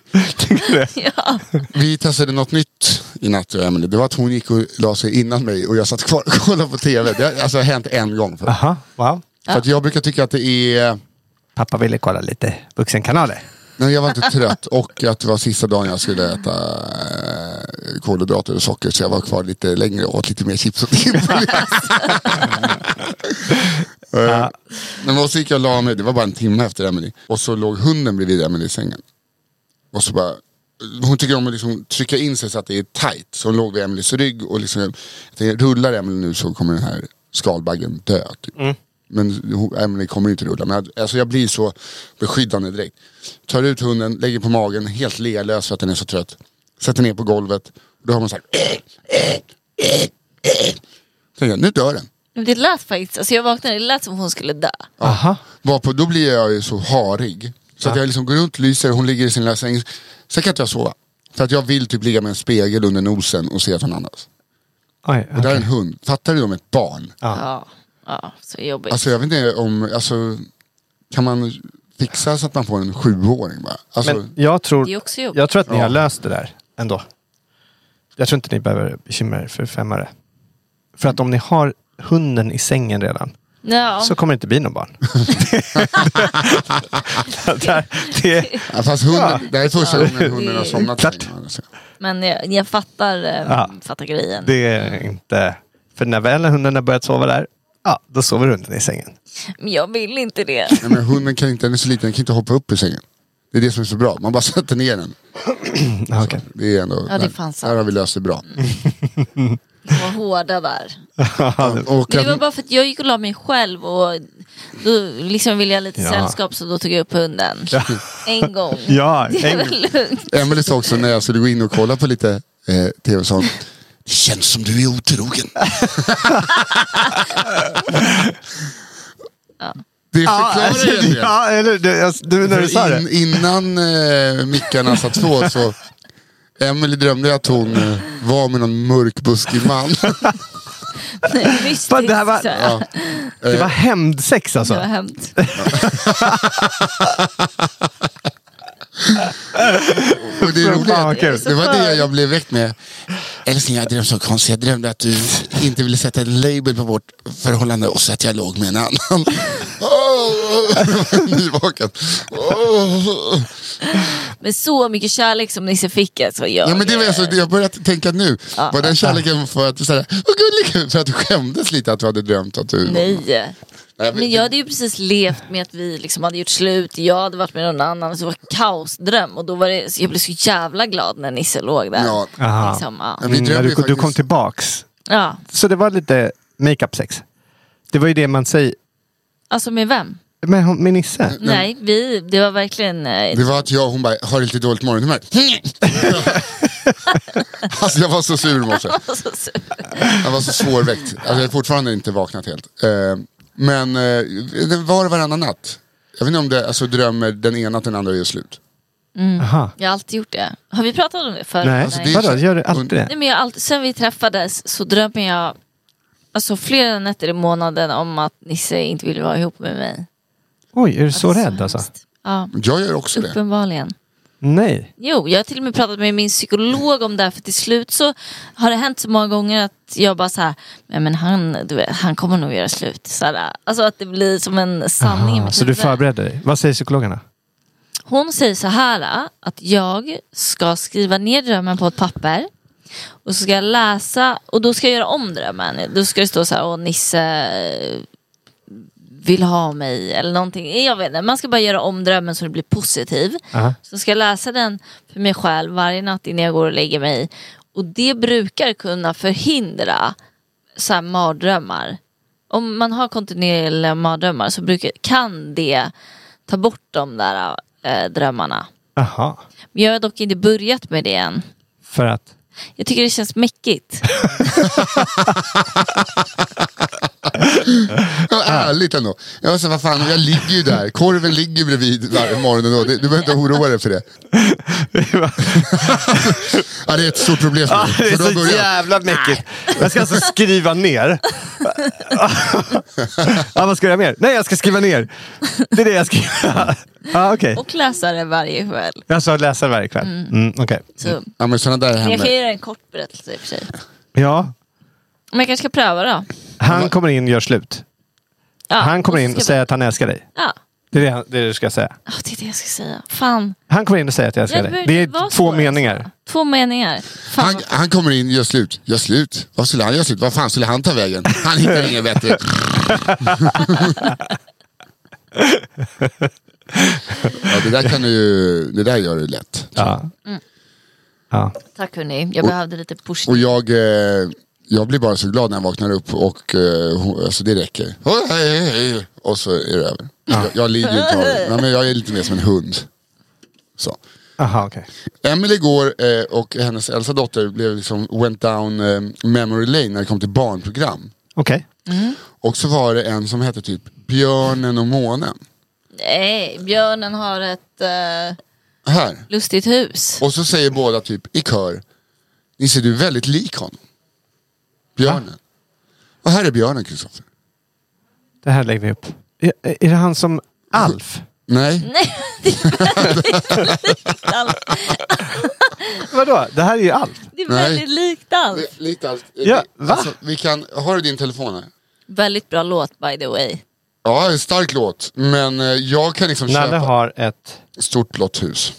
Speaker 5: Ja.
Speaker 3: Vi testade något nytt i natt, jag och Emily. Det var att hon gick och la sig innan mig och jag satt kvar och kollade på tv. Det har alltså hänt en gång.
Speaker 4: Ah.
Speaker 3: För,
Speaker 4: Aha, wow.
Speaker 3: för att jag brukar tycka att det är...
Speaker 4: Pappa ville kolla lite vuxenkanaler.
Speaker 3: Nej, jag var inte trött och att det var sista dagen jag skulle äta eh, kolhydrater och socker så jag var kvar lite längre och åt lite mer chips och timburgare. Eh, Men och så gick jag och la mig, det var bara en timme efter Emily Och så låg hunden bredvid Emily i sängen. Och så bara, hon tycker om att liksom trycka in sig så att det är tight. Så hon låg vid Emelies rygg och liksom, jag tänkte, rullar Emily nu så kommer den här skalbaggen dö. Typ. Men hon- Emily kommer ju inte rulla. Men alltså jag blir så beskyddande direkt. Tar ut hunden, lägger på magen, helt lealös för att den är så trött. Sätter ner på golvet. Då har man så här. Tänker jag, nu dör den.
Speaker 5: Men Det lät faktiskt, alltså jag vaknade, det lät som hon skulle dö.
Speaker 3: Aha. Varpå, då blir jag ju så harig. Så att jag liksom går runt, lyser, hon ligger i sin lilla säng. Sen kan inte jag sova. För att jag vill typ ligga med en spegel under nosen och se att hon andas.
Speaker 4: Oj,
Speaker 3: Och där är en hund. Fattar du om ett barn?
Speaker 5: Ja, ja så jobbigt.
Speaker 3: Alltså jag vet inte om, alltså kan man fixa så att man får en sjuåring bara? Alltså,
Speaker 4: Men jag tror,
Speaker 5: Det är också jobbigt.
Speaker 4: jag tror att ni
Speaker 3: Ja.
Speaker 4: har löst det där ändå. Jag tror inte ni behöver bekymra er för femmare. För att om ni har hunden i sängen redan
Speaker 5: Ja.
Speaker 4: så kommer det inte bli någon barn. där, det,
Speaker 3: ja, fast hunden,
Speaker 4: Ja.
Speaker 3: det här är första
Speaker 5: Ja.
Speaker 3: gången hunden har somnat.
Speaker 4: Klart.
Speaker 3: säger man, alltså.
Speaker 5: Men jag, jag fattar, eh,
Speaker 4: Ja.
Speaker 5: fattar grejen.
Speaker 4: det är inte... För när väl hunden har börjat sova där, ja, då sover hunden i sängen.
Speaker 5: Men jag vill inte det.
Speaker 3: Nej, men hunden kan inte, den är så liten, den kan inte hoppa upp i sängen. Det är det som är så bra, man bara sätter ner den.
Speaker 4: Ja, okej.
Speaker 3: Det är ändå,
Speaker 5: Ja, det är fan
Speaker 3: där,
Speaker 5: sant.
Speaker 3: där har vi löst det bra.
Speaker 5: Vad hårda där.
Speaker 3: Och
Speaker 5: Men det var
Speaker 3: att,
Speaker 5: bara för att jag gick och la mig själv och då liksom ville jag lite
Speaker 4: Ja.
Speaker 5: sällskap så då tog jag upp hunden. En gång.
Speaker 4: Ja,
Speaker 5: det är
Speaker 4: en
Speaker 5: väl lugnt.
Speaker 3: Emelie sa också när jag skulle gå in och kolla på lite eh, tv, sa hon, det känns som du är otrogen. Det förklarar ju en del.
Speaker 4: alltså, ja, eller du, jag, du när du sa
Speaker 3: För
Speaker 4: det.
Speaker 3: in, innan eh, mickarna satt på så Emily drömde ju att hon eh, var med någon mörkbuskig man.
Speaker 5: Mystiskt.
Speaker 4: Fan, det här var-
Speaker 5: så här.
Speaker 3: ja.
Speaker 4: Det
Speaker 3: eh,
Speaker 4: var hämndsex alltså.
Speaker 5: Det var hänt.
Speaker 3: Och det, är
Speaker 4: Fan,
Speaker 3: roligt,
Speaker 4: vad kul.
Speaker 3: det var det jag blev väckt med. Älskling, jag drömde så konstigt. Jag drömde att du inte ville sätta en label på vårt förhållande och så att jag låg med en annan. Oh, nyvaken. Oh.
Speaker 5: Men så mycket kärlek som Nisse fick alltså. Jag,
Speaker 3: Ja, men det var alltså, det jag börjar tänka nu. Var den kärleken för att, du så här, "Åh, gullig", för att du skämdes lite att du hade drömt att du...
Speaker 5: Nej.
Speaker 3: Nej,
Speaker 5: Men jag hade ju precis levt med att vi liksom hade gjort slut, jag hade varit med någon annan, så det var kaosdröm och då var det, så jag blev så jävla glad när Nisse låg där.
Speaker 3: Ja.
Speaker 4: Aha.
Speaker 5: Liksom, ja.
Speaker 3: Men vi
Speaker 4: Mm, när
Speaker 3: drömde
Speaker 4: du,
Speaker 3: ju
Speaker 4: du kom
Speaker 3: faktiskt-
Speaker 4: tillbaks.
Speaker 5: ja,
Speaker 4: Så det var lite makeup-sex. Det var ju det man säger.
Speaker 5: alltså med vem?
Speaker 4: Men hon- med Nisse?
Speaker 3: Mm.
Speaker 5: Nej, vi, det var verkligen... eh,
Speaker 3: Det var att jag och hon bara, har lite dåligt morgonhumör. alltså jag var så sur i morse.
Speaker 5: alltså, så-
Speaker 3: Jag var så svårväckt. Alltså, jag har fortfarande inte vaknat helt. Eh, men eh, det var och varannan natt. Jag vet inte om det alltså, drömmer den ena att den andra gör slut.
Speaker 4: Aha.
Speaker 5: Jag har alltid gjort det. Har vi pratat om det förut?
Speaker 4: Nej,
Speaker 3: Alltså, det är- Mm.
Speaker 4: vadå? Gör du alltid det?
Speaker 5: Nej, men jag har alltid, sen vi träffades så drömmer jag alltså, flera nätter i månaden om att Nisse inte ville vara ihop med mig.
Speaker 4: Oj, är du så
Speaker 5: Det är
Speaker 4: rädd alltså?
Speaker 5: hemskt. Ja,
Speaker 3: Jag gör också det.
Speaker 5: uppenbarligen.
Speaker 4: Nej.
Speaker 5: Jo, jag har till och med pratat med min psykolog om det här för till slut så har det hänt så många gånger att jag bara så här, "Nej, men han, du vet, han kommer nog göra slut. Så här, alltså att det blir som en sanning i
Speaker 4: Aha,
Speaker 5: mitt
Speaker 4: så du
Speaker 5: huvud.
Speaker 4: förbereder dig? Vad säger psykologerna?
Speaker 5: Hon säger så här att jag ska skriva ner drömmen på ett papper och så ska jag läsa och då ska jag göra om drömmen. Då ska det stå så här, åh Nisse eh, vill ha mig eller någonting. Jag vet inte, man ska bara göra om drömmen så det blir positiv.
Speaker 4: Aha.
Speaker 5: Så ska jag läsa den för mig själv varje natt innan jag går och lägger mig. Och det brukar kunna förhindra så här mardrömmar. Om man har kontinuerliga mardrömmar så brukar, kan det ta bort de där eh, drömmarna.
Speaker 4: Aha.
Speaker 5: Men jag har dock inte börjat med det än.
Speaker 4: För att?
Speaker 5: Jag tycker det känns mäckigt.
Speaker 3: Ja, ärligt ändå. Jag var så, här, vad fan, jag ligger ju där. Korven ligger bredvid varje morgon ändå. Det- Du behöver inte oroa dig för det. ja, Ah, det är ett stort problem
Speaker 4: Ah,
Speaker 3: för mig. För då börjar jag-
Speaker 4: mäckigt. Jag ska alltså skriva ner. ja, vad ska jag göra mer? Nej, jag ska skriva ner. Det är det jag ska göra. Ja, okej.
Speaker 5: Och läsa det varje kväll.
Speaker 4: Jag sa läsa varje kväll. Mm, okej.
Speaker 5: Så.
Speaker 3: Ja, men sådana där
Speaker 5: Men jag kan
Speaker 3: händer.
Speaker 5: göra en kort berättelse i och för sig.
Speaker 4: Ja,
Speaker 5: Men jag kanske ska pröva då.
Speaker 4: han kommer in och gör slut.
Speaker 5: Ja,
Speaker 4: Han kommer
Speaker 5: och så
Speaker 4: in
Speaker 5: ska
Speaker 4: och säger att han älskar dig.
Speaker 5: jag- Ja,
Speaker 4: Det är det, han- det, är det du ska säga.
Speaker 5: Ja, det är det jag ska säga. Fan,
Speaker 4: Han kommer in och säger att jag älskar
Speaker 5: Jag
Speaker 4: dig.
Speaker 5: behöver
Speaker 4: Det
Speaker 5: inte vara
Speaker 4: är
Speaker 5: så,
Speaker 4: två
Speaker 5: alltså.
Speaker 4: meningar.
Speaker 5: två meningar. Fan,
Speaker 3: Han, han kommer in, gör slut, gör slut. Vad skulle han göra slut? Vad fan skulle han ta vägen? Han hittar inget bättre. ja, det där kan du ju, det där gör du lätt.
Speaker 4: Ja. Ja.
Speaker 5: tack hörni, jag behövde lite push.
Speaker 3: Och jag, eh, jag blir bara så glad när jag vaknar upp och eh, hon- alltså det räcker. Åh, hej, hej, hej. Och så är det över. Jag, jag lider ju inte av det. Nej, men Jag är lite mer som en hund. Så.
Speaker 4: Aha, okej.
Speaker 3: Emily går eh, och hennes äldsta dotter blev liksom went down eh, memory lane när det kom till barnprogram.
Speaker 4: Okej.
Speaker 3: Och så var det en som hette typ Björnen och månen.
Speaker 5: Nej, björnen har ett eh,
Speaker 3: Här.
Speaker 5: lustigt hus.
Speaker 3: Och så säger båda typ i kör, Nisse du är väldigt lik honom. Björnen. Och här är björnen Kristoffer.
Speaker 4: Det här lägger vi upp. Är, är det han som Alf? Mm.
Speaker 3: Nej,
Speaker 5: Nej, det är väldigt likt Alf.
Speaker 4: Vadå? Det här är ju Alf.
Speaker 5: Det är
Speaker 3: Nej.
Speaker 5: väldigt likt Alf.
Speaker 3: li- lite allt.
Speaker 4: Ja, va?
Speaker 3: Alltså, vi kan, har du din telefon här?
Speaker 5: Väldigt bra låt by the way.
Speaker 3: Ja, en stark låt. Men eh, jag kan liksom
Speaker 4: Nalle
Speaker 3: köpa
Speaker 4: har ett...
Speaker 3: stort blått hus.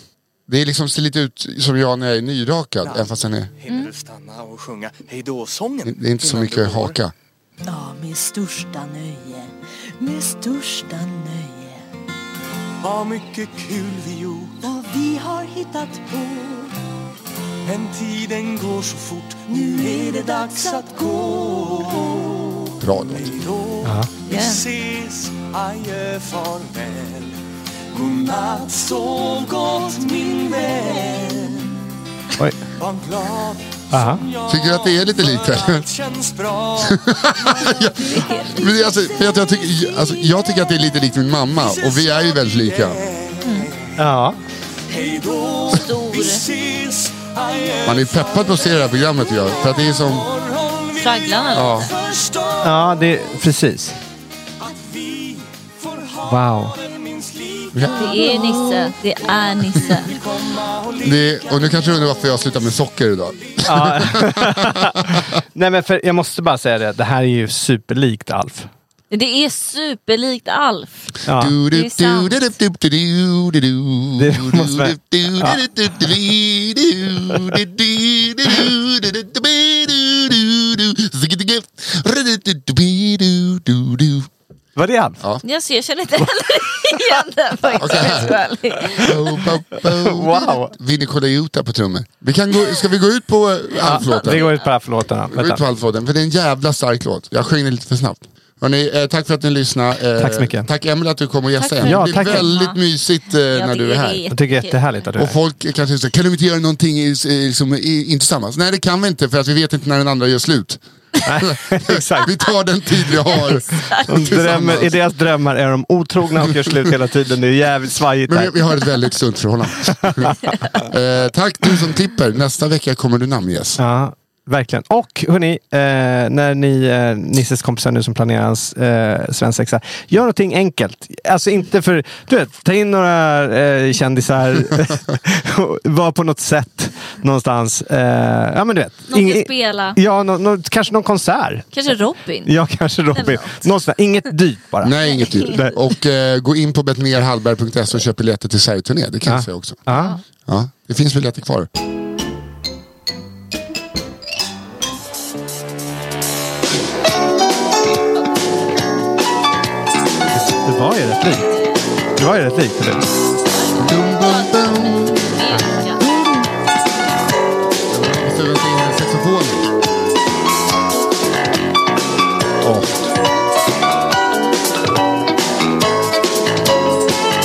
Speaker 3: Det är liksom ser lite ut som jag när jag är nyrakad, även fast den är,
Speaker 12: Hinner du stanna och sjunga hejdå-sången?
Speaker 3: det är inte så
Speaker 12: innan du
Speaker 3: mycket
Speaker 12: går?
Speaker 3: haka.
Speaker 13: Ja, med största nöje, med största nöje
Speaker 12: Vad mycket kul vi gjort.
Speaker 13: vad vi har hittat på.
Speaker 12: Men tiden går så fort. Nu är det dags att gå.
Speaker 3: Bra låt.
Speaker 12: Hejdå. Vi ses. Adjö, farväl. Godnatt, sov gott min vän.
Speaker 4: Oj.
Speaker 12: Var glad
Speaker 4: Aha.
Speaker 12: som jag.
Speaker 3: Tycker du att det är lite likt,
Speaker 12: för
Speaker 3: eller?
Speaker 12: allt känns bra.
Speaker 3: Men det, är alltså, vet du, jag, tycker, alltså, jag tycker att det är lite likt min mamma och vi är ju väldigt lika.
Speaker 4: Ja.
Speaker 12: Hejdå. Vi ses. Adjö,
Speaker 3: Man är peppad på att se det här programmet jag, för att det är som,
Speaker 12: morgon vi
Speaker 5: Tragglarna lite.
Speaker 3: ja.
Speaker 12: förstår.
Speaker 4: Ja, det, precis.
Speaker 12: Vi får ha
Speaker 4: Wow.
Speaker 12: den minst lika
Speaker 5: Det är Nisse, det är Nisse.
Speaker 3: Det är, och nu kanske du undrar varför jag slutar med socker idag.
Speaker 4: Ja. Nej, men för jag måste bara säga det. Det här är ju superlikt Alf.
Speaker 5: Det är superlikt Alf.
Speaker 4: Ja.
Speaker 3: Du-
Speaker 5: det
Speaker 3: du-
Speaker 5: är sant.
Speaker 3: du- du- du- du- du- du- du- du-
Speaker 4: Det
Speaker 3: du-
Speaker 4: måste vara-
Speaker 3: du- du-
Speaker 4: Ja.
Speaker 3: du- du- du- du- du- du- du- du- du- du- du- du- Ziggy-diggy. Rudududubi- du- du- du.
Speaker 4: Var det Alf?
Speaker 5: Alltså, jag känner inte heller igen den faktiskt. om jag ska vara ärlig.
Speaker 3: Bo- bo- bo-
Speaker 4: Wow.
Speaker 3: Vinnie Colaiuta på trummor. Vi kan gå, ska vi gå ut på eh,
Speaker 4: Vi
Speaker 3: Alf-låten?
Speaker 4: går ut på Alf-låtarna.
Speaker 3: Gå ut på Alf-låten, för det är en jävla stark låt. Jag sjöng den lite för snabbt. Hörrni, eh, tack för att ni lyssnade. Eh,
Speaker 4: Tack så mycket.
Speaker 3: Tack Emelie att du kom och gästade.
Speaker 5: för
Speaker 4: Ja,
Speaker 3: det blir
Speaker 4: tack.
Speaker 3: väldigt mysigt eh, när
Speaker 5: Jag
Speaker 3: du är
Speaker 5: tycker
Speaker 3: här.
Speaker 5: det är
Speaker 4: Jag tycker det är jättehärligt att du är
Speaker 3: Och
Speaker 4: här.
Speaker 3: folk kanske säger, kan du inte göra någonting i, i, liksom, i, inte tillsammans? Nej det kan vi inte för att vi vet inte när den andra gör slut.
Speaker 4: Exakt.
Speaker 3: Vi tar den tid vi har
Speaker 4: De Drömmer, I
Speaker 3: tillsammans.
Speaker 4: deras drömmar är de otrogna och gör slut hela tiden. Det är jävligt svajigt.
Speaker 3: Men
Speaker 4: här.
Speaker 3: vi, vi har ett väldigt sunt förhållande. eh, tack du som klipper. Nästa vecka kommer du namnges.
Speaker 4: Ja, verkligen. Och hörni, eh, när ni, eh, Nisses kompisar nu som planerar hans eh, svensexa, gör någonting enkelt. Alltså inte för, du vet, ta in några eh, kändisar, och var på något sätt någonstans. Eh, ja men du vet.
Speaker 5: Någon
Speaker 4: Ing-
Speaker 5: ska spela.
Speaker 4: Ja, nå- nå- kanske någon konsert.
Speaker 5: Kanske Robin.
Speaker 4: Ja, kanske Robin. Någonstans. Inget dyrt bara.
Speaker 3: Nej, inget dyrt.
Speaker 4: Nej.
Speaker 3: Och eh, gå in på betnerhallberg.se och köp biljetter till Sverigeturné. Det kan jag säga också.
Speaker 4: Ja.
Speaker 3: Ja, det finns biljetter kvar.
Speaker 4: Det var ju rätt likt. Det var ju rätt likt. eller?
Speaker 3: Dum, dum, dum. Och så vänta in en saxofon. Åh.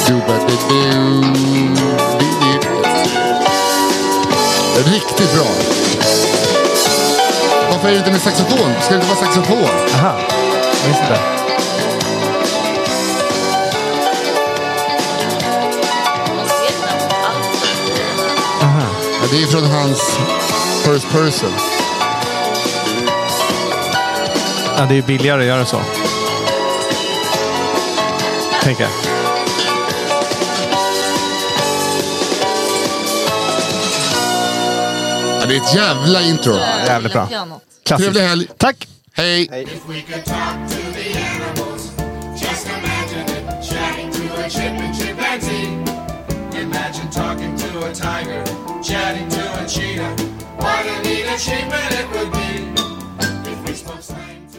Speaker 3: Du-ba-du-du. Du-du. Riktigt bra. Varför är det inte med saxofon? Ska det inte vara saxofon?
Speaker 4: Aha, just det. Aha.
Speaker 3: Ja, det är från hans first person.
Speaker 4: Ja, det är billigare att göra så. Tänker jag.
Speaker 3: Ja, det är ett jävla intro.
Speaker 4: Jävligt bra.
Speaker 3: Trevlig
Speaker 4: Klassiskt.
Speaker 3: helg.
Speaker 4: Tack!
Speaker 3: Hej.
Speaker 2: If we could talk to the animals, just imagine it, chatting to a chimpanzee. Imagine talking to a tiger, chatting to a cheetah. What a neat achievement it would be if we spoke slang to